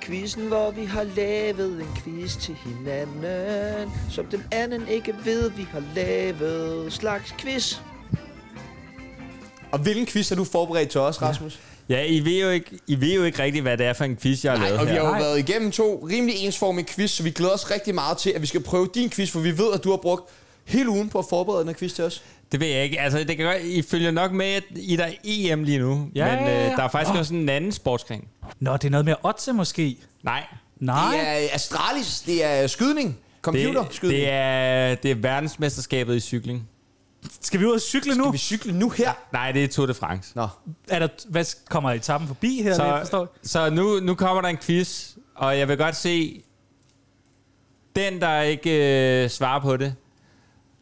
Quizzen, hvor vi har lavet en quiz til hinanden, som den anden ikke ved, vi har lavet. Slags quiz.
Og hvilken quiz har du forberedt til os, Rasmus?
Ja, I ved, jo ikke, I ved jo ikke rigtigt, hvad det er for en quiz, jeg har
Nej,
lavet
og vi
her.
har jo
Nej.
været igennem to rimelig ensformige quiz, så vi glæder os rigtig meget til, at vi skal prøve din quiz, for vi ved, at du har brugt hele ugen på at forberede den her quiz til os.
Det ved jeg ikke. Altså, det kan godt, I følger nok med, at I der er EM lige nu.
Ja,
men
ja, ja. Ah.
Øh, der er faktisk også en anden sportsgren.
Nå, det er noget med otse måske.
Nej,
Nej.
Det er Astralis, det er skydning,
det,
computerskydning.
det, er, det er verdensmesterskabet i cykling.
Skal vi ud og cykle nu?
Skal vi cykle nu her?
Nej, det er Tour de France.
Nå,
Er der, hvad s- kommer etappen forbi her? Så, forstår
Så, så nu, nu kommer der en quiz, og jeg vil godt se, den, der ikke øh, svarer på det,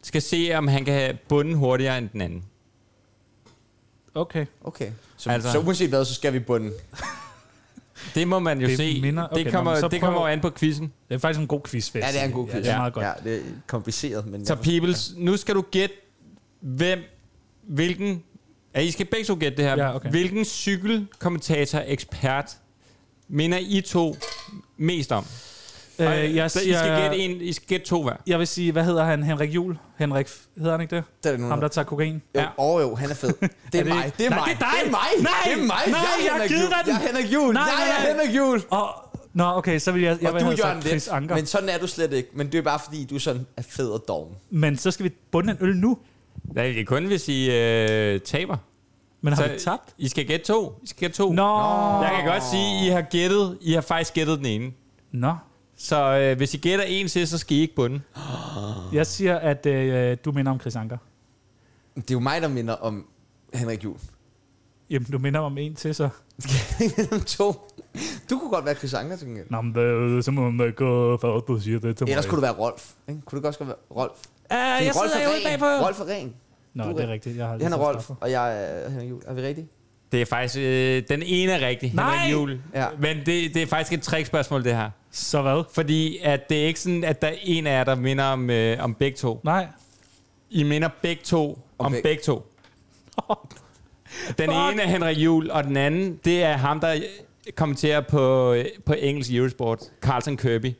skal se, om han kan have bunden hurtigere end den anden.
Okay.
okay.
Altså-
Så, altså. så uanset hvad, så skal vi på den.
Det må man jo
Det
se.
minder- okay, nå,
det kommer,
men så
det kommer jo
prøv-
an på quizzen.
Det er faktisk en god quiz,
Ja, det er en god quiz.
Ja, det er meget godt.
Ja, det er kompliceret, men...
Så
jeg forstår-
Peoples, nu skal du gætte, hvem, hvilken, ja, I skal begge to gætte det her.
Ja, okay.
Hvilken cykelkommentator, ekspert, minder I to mest om? Og,
Øh, jeg,
så I skal gætte
siger,
en, I skal gætte to hver.
jeg vil sige, hvad hedder han? Henrik Jul? Henrik, F- hedder han ikke det?
Der er det nogen,
Ham, der tager kokain.
Jo, ja. oh, jo, han er fed. Det er,
det
mig.
ikke?
Det er
Nej,
mig.
det er dig.
Det er mig.
Nej,
det er mig.
nej,
jeg
jeg
er Henrik
giver
Juhl.
dig den.
Jeg er Henrik Juhl.
Nej,
jeg
nej,
er
nej.
Henrik Juhl.
Og, nå, okay, så vil jeg, jeg
Og
vil
du,
have
Jørgen
sagt Chris
Let.
Anker.
Men
Men,
sådan er du slet ikke. Men det er bare fordi, du er sådan er fed og doven.
men så skal vi bunde en øl nu.
Nej, det er kun, hvis I øh, taber.
Men har
Så-
vi tabt?
I skal gætte to. I skal gætte to.
Nå.
Jeg kan godt sige, I har gættet. I har faktisk gættet den ene.
Nå.
Så øh, hvis I gætter en til, så skal I ikke bunde.
Jeg siger, at øh, du minder om Chris Anker.
Det er jo mig, der minder om Henrik Juhl.
Jamen, du minder mig om en til, så.
Mellem to. Du kunne godt være Chris Anker, til gengæld.
Nå, men det er som om, der går for, du siger det til mig.
Ellers kunne du være Rolf. Ikke? Kunne du godt være Rolf?
Uh, jeg
Rolf
sidder
er
jo
ren.
bagpå.
Rolf er ren.
Nå,
du er
det er
ren.
rigtigt. Jeg har
Han er
lidt
Rolf,
straffer.
og jeg øh, er Henrik Juhl. Er vi rigtige?
Det er faktisk... Øh, den ene er rigtig.
Nej!
Henrik Juhl.
Ja.
Men det, det er faktisk et trickspørgsmål, det her.
Så hvad?
Fordi at det er ikke sådan, at der er en af jer, der minder om, øh, om begge to.
Nej.
I minder begge to om, om
beg-
begge to. Den
Fuck.
ene er Henrik Juhl, og den anden, det er ham, der kommenterer på, øh, på engelsk Eurosport, Carlton Kirby.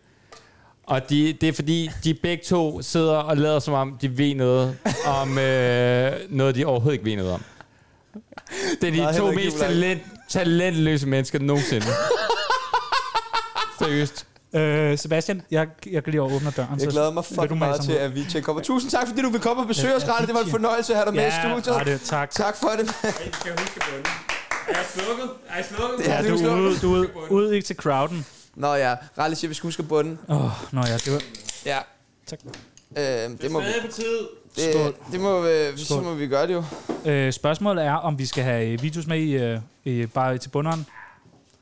Og de, det er fordi, de begge to sidder og lader som om, de ved noget om øh, noget, de overhovedet ikke ved noget om. Det er
Nej,
de to
Henrik
mest
Juhl er ikke-
talent, talentløse mennesker nogensinde. Seriøst.
Øh, Sebastian, jeg, jeg kan lige åbne døren.
Jeg
så
glæder mig
vil
fucking
du mase
meget
ham
til,
ud.
at Vitia kommer. Tusind tak, fordi du vil komme og besøge os,
Ja,
Rane. Det var en
Vitia.
fornøjelse at have dig med i studiet.
Ja, det, tak.
Tak for det.
I skal huske på den. Er jeg slukket? Er jeg slukket?
Ja,
Ja,
det
du
er
er ude, du er ude, ude ikke til crowden.
Nå ja, Rally siger, vi skal huske bunden.
Åh, oh, nå ja, det var...
Ja.
Tak.
Øh, det, må, vi-
Stadig på tid.
det, det må, øh, så
Skål.
må vi gøre det jo.
Øh, spørgsmålet er, om vi skal have øh, Vitus med i, øh, i bare til bunderen.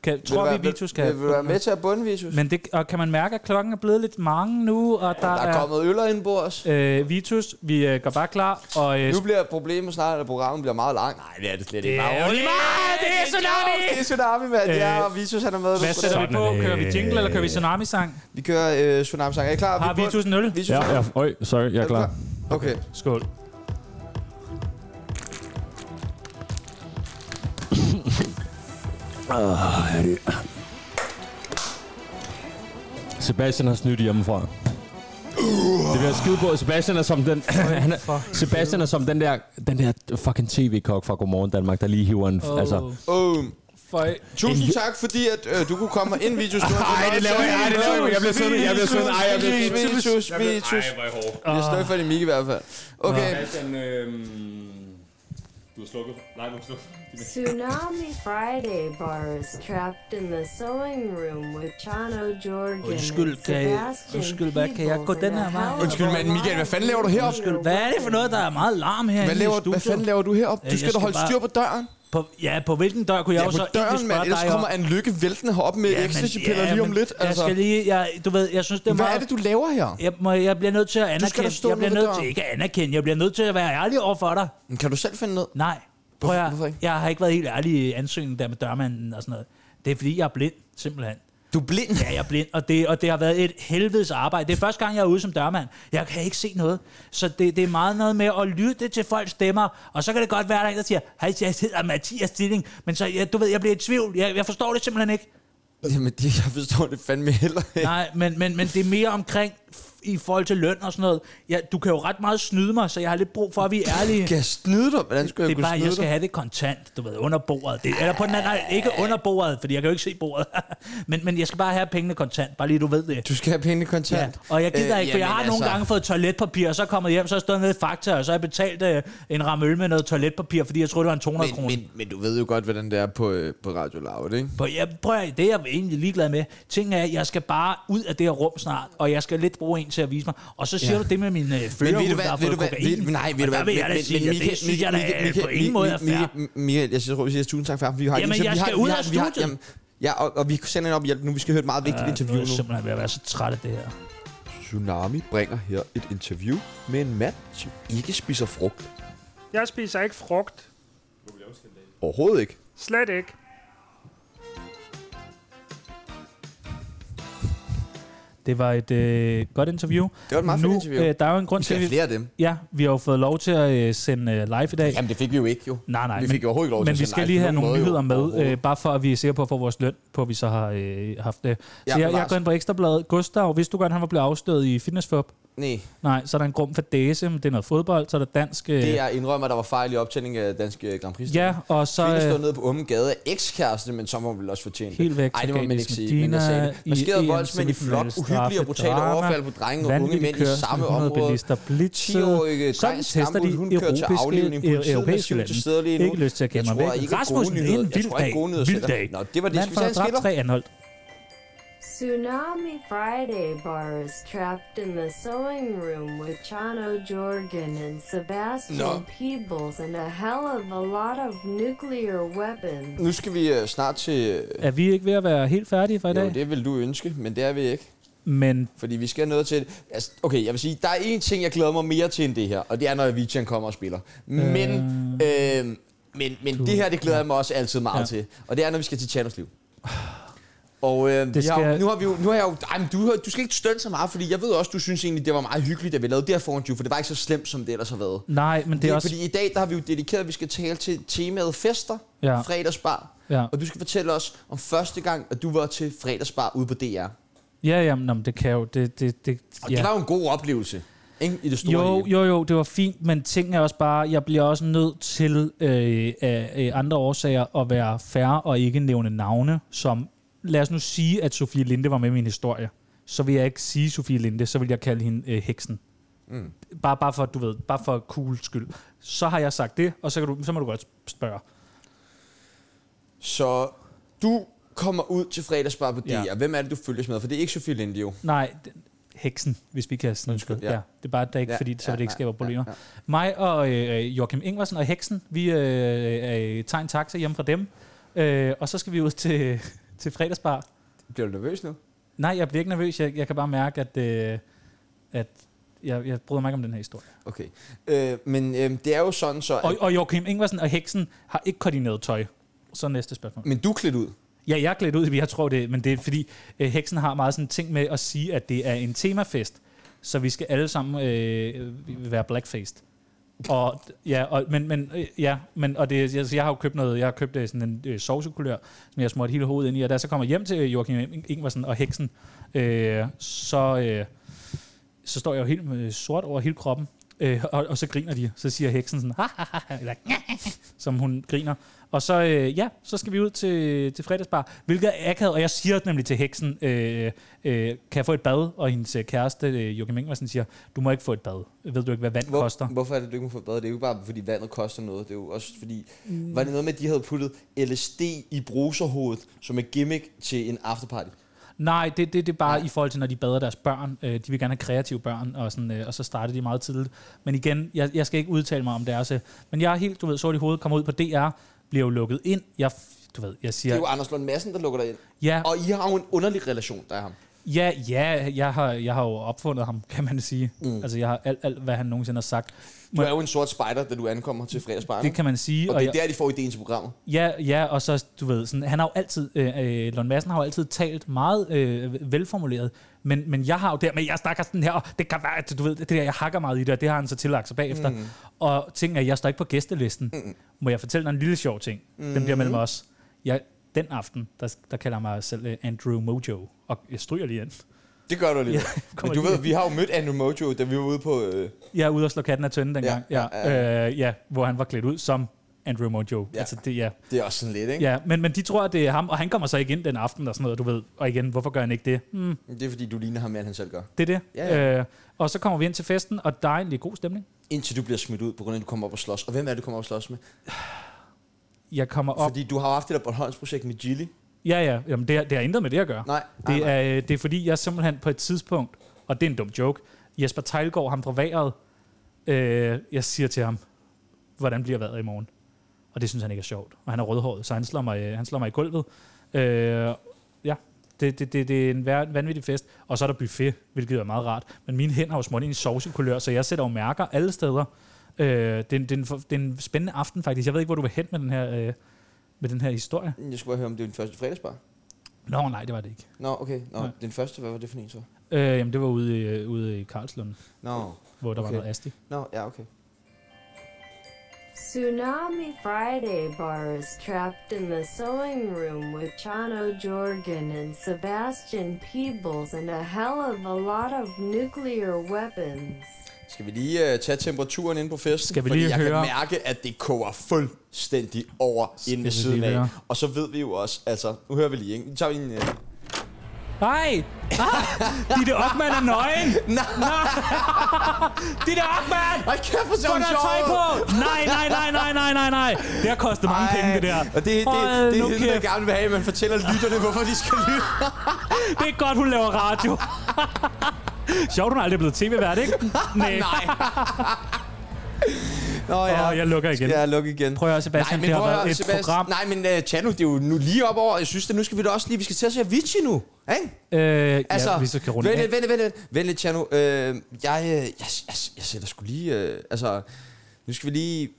Kan,
Vil du
tror
være-
vi, Vitus kan...
vil, vil, vil du være med til at bunde, Vitus?
Men det, og kan man mærke, at klokken er blevet lidt mange nu, og der,
Der er kommet øller ind på os.
Øh, Vitus, vi øh, går bare klar, og... Øh,
Nu bliver problemet snart, at programmet bliver meget langt. Nej, det er det slet ikke.
er jo lige meget! Det er
Det
tsunami!
er Tsunami, mand.
Øh,
Ja, og Vitus han er med.
Hvad sætter vi på? Kører vi jingle, eller kører vi tsunami-sang?
Vi kører øh, Tsunami-sang. Er I klar?
Har
Vi er
Vitus en øl?
Vitus,
Ja,
er
ja.
du
Øj, sorry, jeg er klar.
Okay.
Skål.
Sebastian har snydt hjemmefra. Det bliver skide på. Sebastian er som den, han er, Sebastian er som den der, den der fucking tv-kok fra Godmorgen Danmark, der lige hiver en... Oh. Altså,
Oh,
Føj.
tusind tak, fordi at, øh, du kunne komme ind, Vitus. Nej,
sådan, jeg bliver sådan, ej, jeg bliver
Vitus, Vitus, Vitus.
hvor er hård.
Det er Stefan i Mikke i hvert fald. Okay.
Sebastian, øhm, du har slukket. Nej, du har slukket.
Tsunami Friday bars trapped in the sewing room with Chano Jorgen
Undskyld,
and
kan I-
Sebastian
undskyld, hvad, kan jeg gå
Peebles
den her
and
vej?
a
Undskyld, mand, Michael, hvad fanden laver du heroppe?
Undskyld,
Hvad er det for noget, der er meget larm her
Hvad, laver, hvad fanden laver du heroppe? Du
Øh,
skal
jeg
da
skal
holde
bare-
styr på døren.
På, ja, på hvilken dør kunne jeg
Ja,
jo så
på
egentlig
døren, mand.
spørge
Ellers
dig
kommer
om?
en lykke væltende heroppe med
Ja, men-
ecstasy-piller
ja,
lige om
men
lidt.
Jeg
Altså.
skal lige, jeg, du ved, jeg synes, det er
Hvad
meget...
er det, du laver her?
Jeg, må, jeg bliver nødt til at
da
anerkende.
stå
jeg bliver
nede ved
nødt
døren.
til ikke at anerkende. Jeg bliver nødt til at være ærlig over for dig.
Men Kan du selv finde ned?
Nej. Prøv at,
hvorfor ikke?
Jeg har ikke været helt ærlig i ansøgningen der med dørmanden og sådan noget. Det er fordi, jeg er blind, simpelthen.
Du er blind.
Ja, jeg er blind, og det, og det har været et helvedes arbejde. Det er første gang, jeg er ude som dørmand. Jeg kan ikke se noget. Så det, det er meget noget med at lytte til folks stemmer, og så kan det godt være, at der er en, der siger, hej, jeg hedder Mathias Stilling, men så, ja, du ved, jeg bliver i tvivl. Jeg, jeg forstår det simpelthen ikke.
Jamen, det, jeg forstår det fandme heller ikke.
Nej, men, men, men det er mere omkring f- i forhold til løn og sådan noget. Ja, du kan jo ret meget snyde mig, så jeg har lidt brug for, at vi er ærlige.
Kan jeg snyde dig? Hvordan skulle jeg
Det er
kunne
bare,
snyde
jeg skal
dig?
have det kontant, du ved, under bordet. Det, eller på den anden, nej, ikke under bordet, fordi jeg kan jo ikke se bordet. men, men jeg skal bare have pengene kontant, bare lige du ved det.
Du skal have penge
Ja,
kontant.
og jeg gider øh, ikke, for jeg
jamen
har altså... nogle gange fået toiletpapir, og så er jeg kommet hjem, så har jeg stået nede i Fakta, og så har jeg betalt øh, en ramme øl med noget toiletpapir, fordi jeg troede, det var en 200
Men,
kroner.
men, men du ved jo godt, hvordan det er på, øh, på Radio Loud, ikke?
På, jeg, prøv at, høre, det er jeg egentlig ligeglad med. Ting er, at jeg skal bare ud af det her rum snart, og jeg skal lidt bruge en til at vise mig. Og så siger ja. du det med min øh, fører,
Men ved du
der
hvad,
har
ved
fået
du hvad,
kokain.
ved, nej, ved
Og
du
der
hvad,
vil jeg da sige, at det synes jeg da øh, på ingen måde er fair.
Michael, jeg tror, vi siger tusind tak for aften. Vi har
Jamen,
interview-
jeg
vi har-
skal
vi
ud
har-
af
vi har-
studiet.
jamen, Ja, og, og vi sender en op hjælp nu. Vi skal høre et meget vigtigt
Ja,
interview
nu er jeg
nu.
simpelthen ved at være så træt af det her.
øh,
Tsunami bringer her et interview med en mand, som ikke spiser frugt.
Jeg spiser ikke frugt.
Overhovedet ikke.
Slet ikke.
Det var et øh, godt interview.
Det var et meget
nu,
fedt interview.
Øh, der er jo en grund
Vi
til,
skal
at
have
vi,
flere af dem.
ja, vi har jo fået lov til at øh, sende øh, live i dag.
Jamen, det fik vi jo ikke, jo.
Nej, nej.
Vi fik
men-
jo overhovedet ikke lov til at
Men vi
sende
skal
live
lige
på
have
nogen
nogle
måde,
nyheder
jo.
med,
Overhovedet.
øh, bare for at vi er sikre på at få vores løn, på at vi så har øh, haft det. Så
Ja,
jeg, jeg
Lars.
går ind på Ekstrabladet. Gustav, hvis du godt, han var blevet afsløret i Fitness Fub?
Nej,
Nej, så er der en grum for Dæse, men det er noget fodbold, så er der dansk... Øh,
det er indrømmer, at der var fejl i optændingen af Dansk øh, Grand Prix.
ja, og så...
Kvinde stod
Øh,
nede på åben gade af ekskæreste, men så må hun vel også fortjene det.
Helt væk,
Ej,
så
det må
gav
man
de
ikke sige, men jeg
Medina
sagde det. Maskeret
i
voldsmænd i flot,
EM-semifinale,
uhyggelige og brutale
straffe,
overfald på drenge og unge
vanvittig
mænd i
kørsel,
samme
100
område.
bilister blitzede.
10-årige
Sådan
dreng
tester de
Stambull, hun kører til aflivning.
europæiske,
Politiet er
europæiske
massivt til stede
lande.
lige nu.
Ikke lyst til at
Jeg
gemme mig
tror ikke,
væk.
gode
Rasmussen,
nyheder-
en
jeg
vild
tror ikke,
dag.
gode nyheder
Vild
sætter-
dag.
Nå, det var det.
Mand
Skal vi
for
tage en skiller?
tre anholdt.
Tsunami Friday bars trapped in the sewing room with Chano Jorgen and Sebastian
No.
Peebles and a hell of a lot of nuclear weapons.
Nu skal vi øh, snart til... øh,
Er vi ikke ved at være helt færdige for i
Jo,
dag?
det vil du ønske, men det er vi ikke.
Men
Fordi vi skal noget til... Altså, okay, jeg vil sige, der er én ting, jeg glæder mig mere til end det her, og det er, når Avicii han kommer og spiller. Men, øh, men, men det her, det glæder jeg mig også altid meget ja.
Ja.
til. Og det er, når vi skal til Chanos liv. Og øh, vi har, jo-
skal-
nu har vi jo, nu har jeg jo, ej, men du, har, du skal ikke stønne så meget, fordi jeg ved også, du synes egentlig, det var meget hyggeligt, at vi lavede det her foran you, for det var ikke så slemt, som det ellers har været.
nej, men
Det
det
er
er også...
Fordi i dag, der har vi jo dedikeret, at vi skal tale til temaet fester, ja.
Ja.
fredagsbar.
Ja.
Og du skal fortælle os om første gang, at du var til fredagsbar ude på DR.
Ja, jamen, nå, men det kan jo... Det, det, det,
Og
ja.
ja. det var jo en god oplevelse, ikke? I det store
jo,
hele.
jo, jo, det var fint, men ting er også bare, jeg bliver også nødt til øh, af øh, andre årsager at være færre og ikke nævne navne, som lad os nu sige, at Sofie Linde var med i min historie. Så vil jeg ikke sige Sofie Linde, så vil jeg kalde hende øh, heksen.
Mm.
Bare, bare for, du ved, bare for cool skyld. Så har jeg sagt det, og så, kan du, så må du godt spørge.
Så du kommer ud til fredagsbar på DR.
Ja.
Ja. Hvem er det, du følges med? For det er ikke Sofie Linde jo.
Nej, den- heksen, hvis vi kan sådan ja.
ja.
ja. Det er bare, at det er ikke,
Ja,
fordi så
ja,
vil det ikke
ja,
skabe
ja,
problemer.
ja.
Mig og øh, Joachim Ingvarsen og heksen, vi øh, øh, tager en taxa hjem fra dem, øh, og så skal vi ud til, til fredagsbar.
Bliver du nervøs nu?
Nej, jeg bliver ikke nervøs. Jeg, jeg kan bare mærke, at, øh, at jeg, jeg bryder mig ikke om den her historie.
Okay. Øh, men øh, det er jo sådan så... At,
Og, og Joachim Ingvarsen og heksen har ikke koordineret tøj. Så næste spørgsmål.
men du er klædt ud.
Ja, jeg er klædt ud, jeg tror det, men det er fordi, øh, heksen har meget sådan en ting med at sige, at det er en temafest, så vi skal alle sammen øh, øh, være blackfaced. Og, ja, og, men, men, øh, ja, men, og det, altså, jeg har jo købt noget, jeg har købt øh, sådan en øh, sovsekulør, som jeg har smurt hele hovedet ind i, og da jeg så kommer hjem til Joachim Ing- Ingvarsen og heksen, øh, så, øh, så står jeg jo helt øh, sort over hele kroppen, øh, og, og, så griner de. Så siger heksen sådan, ha, ha, ha, ha, eller, som hun griner. Og så, øh, ja, så skal vi ud til, til fredagsbar, hvilket er akavet, og jeg siger nemlig til heksen, øh, øh, kan jeg få et bad? Og hendes øh, kæreste, øh, Joachim Ingvarsen, siger, du må ikke få et bad. Ved du ikke, hvad vand Hvor? koster?
Hvor, hvorfor er det, du ikke må få bedre? Det er jo ikke bare, fordi vandet koster noget. Det er jo også fordi... Mm. Var det noget med, at de havde puttet LSD i bruserhovedet som et gimmick til en afterparty?
Nej, det, det, det er bare ja. i forhold til, når de bader deres børn. Øh, de vil gerne have kreative børn, og, sådan, øh, og så starter de meget tidligt. Men igen, jeg, jeg skal ikke udtale mig om deres... Øh, men jeg er helt, du ved, sort i hovedet, kommer ud på DR, bliver jo lukket ind. Jeg, f- du ved, jeg
Det
siger...
er jo Anders Lund Madsen, der lukker dig ind.
ja,
Og I har jo en underlig relation, der er ham.
Ja, ja, jeg har, jeg har jo opfundet ham, kan man sige. Mm. Altså, jeg har alt, alt, hvad han nogensinde har sagt.
Du er jo en sort spider, da du ankommer til fredagsbaren.
Det kan man sige.
og, og det er
jeg,
der, de får ideen til programmet.
ja, ja, og så, du ved, sådan, han har jo altid, øh, øh, Lund Madsen har jo altid talt meget øh, velformuleret, men, men jeg har jo der, men jeg snakker sådan her, og det kan være, at du ved, det der, jeg hakker meget i det, og det har han så tillagt sig bagefter. Mm. Og ting er, jeg står ikke på gæstelisten. Mm. Må jeg fortælle dig en lille sjov ting? Mm. Den bliver mellem os. Jeg, den aften, der, der kalder jeg mig selv øh, Andrew Mojo, og jeg stryger lige ind.
Det gør du alligevel.
Ja,
Men
kommer
du
lige-
ved, vi har jo mødt Andrew Mojo, da vi var ude på... Øh,
Jeg er ude og slå katten af tønden dengang. Ja,
Ja,
ja, ja. Øh, ja, hvor han var klædt ud som Andrew Mojo. Ja.
Ja.
Altså det, ja.
det er også sådan lidt, ikke?
ja men, men de tror, at det er ham, og han kommer så ikke ind den aften og sådan noget, du ved. Og igen, hvorfor gør han ikke det? Mm,
Det er fordi, du ligner ham mere, end han selv gør.
det er det.
Ja, ja.
Øh, og så kommer vi ind til festen, og der er egentlig god stemning.
Indtil du bliver smidt ud, på grund af, at du kommer op og slås. Og hvem er det, du kommer op og slås med?
Jeg kommer op.
Fordi du har jo haft det der Bornholms-projekt med Gilly.
Ja, ja. Jamen, det, har- det har intet med det at gøre.
Nej, nej,
Det
nej.
er, øh, det er fordi, jeg simpelthen på et tidspunkt, og det er en dum joke, Jesper Tejlgaard, ham fra vejret, øh, jeg siger til ham, hvordan bliver vejret i morgen? Og det synes han ikke er sjovt. Og han er rødhåret, så han slår mig, øh, han slår mig i gulvet. Øh, ja, det, det, det, det er en vær- vanvittig fest. Og så er der buffet, hvilket er meget rart. Men mine hænder har jo smurt ind i sovsekulør, så jeg sætter jo mærker alle steder. Øh, det, er, en- det, er en, for- det er en spændende aften faktisk. Jeg ved ikke, hvor du vil hen med den her, øh, med den her historie.
Jeg skulle bare høre, om det var din første fredagsbar.
Nå, nej, det var det ikke.
Nå, okay. Nå,
Nej.
den første, hvad var det for en så?
Øh, jamen, det var ude i, øh, ude i Karlslund.
Nå,
hvor der okay.
Okay.
var noget asti.
Nå ja, okay.
Tsunami Friday Bar is trapped in the sewing room with Chano Jorgen and Sebastian Peebles and a hell of a lot of nuclear weapons.
Skal vi lige uh, tage temperaturen ind på festen?
Skal vi
Fordi
lige
jeg
høre?
kan mærke, at det koger fuldstændig over inde ved
vi
siden
lige
af.
høre?
Og så ved vi jo også, altså, nu hører vi lige, ikke? Nu tager vi en... Uh...
Nej! Ah, Ditte Ockmann er nøgen!
Nej.
Nej! Ditte Ockmann!
Ej, kæft, hvor ser
Få
hun
noget
sjov
tøj
ud!
på! Nej, nej, nej, nej, nej, nej, nej! Det har kostet mange penge, det der.
Ej, Og det, det,
Hold
det, det
nu
er hende, der
kæft.
gerne vil have, at man fortæller lytterne, hvorfor de skal lytte.
Det er godt, hun laver radio. Sjovt, hun er aldrig blevet tv-vært, ikke? Nej.
Nå
Åh, jeg lukker igen.
Ja, luk igen.
Prøv at høre, Sebastian, det har
prøv at
været
høre,
et program.
Nej, men uh, Chano, det er jo nu lige op over. Jeg synes, at nu skal vi da også lige, vi skal til at se Avicii nu. Ikke?
Øh,
Altså,
ja, hvis du kan runde
vent,
af.
lidt, vent, lidt, vent, vent, vent lidt, Tjerno. Øh, jeg, øh, jeg, jeg, jeg sætter sgu lige... Øh, altså, nu skal vi lige...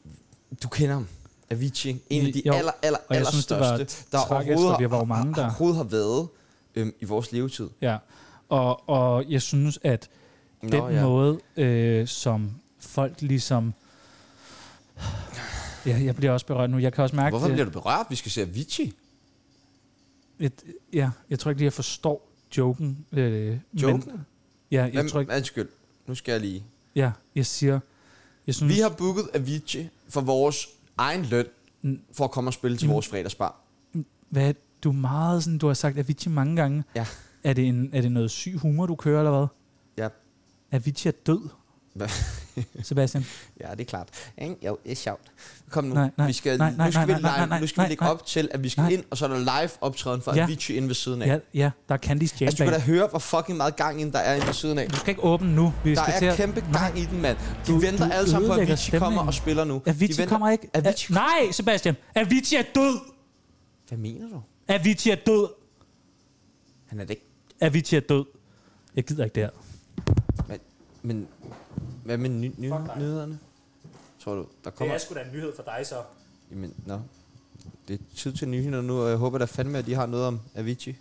Du kender ham. Avicii, ikke? en af de
Jo,
jo. aller, aller,
og jeg
aller
synes, det var
største, der
tragisk,
overhovedet,
og vi var jo mange, der-
har, overhovedet har været øhm, i vores levetid.
Ja, og, og jeg synes, at Nå, den ja.
ja.
måde, øh, som folk ligesom... Ja, jeg bliver også berørt nu. Jeg kan også mærke...
Hvorfor
det-
bliver du berørt? Vi skal se Avicii.
Et, ja, jeg tror ikke lige, jeg forstår joken. Øh,
Joken?
Men, ja, jeg
Hvem,
tror ikke,
Undskyld, nu skal jeg lige...
ja, jeg siger, jeg synes,
Vi har booket
Mm.
Avicii for vores egen løn, for at komme og spille til vores fredagsbar.
hvad, Du er meget sådan, du har sagt Avicii mange gange.
Ja.
Er det, en, er det noget syg humor, du kører, eller hvad?
Ja.
Avicii er død,
Hvad?
Sebastian.
Ja, det er klart. Ikke? Jo, det er sjovt. Kom nu.
Nej, nej,
vi skal,
nej, nej,
nu skal vi,
nej, nej, nej,
line-
nej,
nu skal vi
nej,
lægge
nej.
op til, at vi skal
Nej.
ind, og så er der live optræden for
Ja.
Avicii inde ved siden af.
Ja, ja, der er Candice Jam
Altså, du kan
bag.
da høre, hvor fucking meget gang ind der er inde ved siden af.
Du skal ikke åbne nu. Vi
Der
skal til
er
at...
kæmpe gang i den, mand. De
Du-
venter
du
alle sammen på, at
ødelægger
Avicii kommer
stemningen.
og spiller nu. De
Avicii
venter-
kommer ikke.
Avicii...
Nej, Sebastian. Avicii er død.
Hvad mener du?
Avicii er død.
Han er det ikke...
Avicii er død. Jeg gider ikke det her.
Men, men hvad med ny, ny, nyhederne? Tror du, der kommer...
sgu da en nyhed for dig så.
Jamen, nå. Det er tid til nyhederne nu, og jeg håber da fandme, at de har noget om Avicii.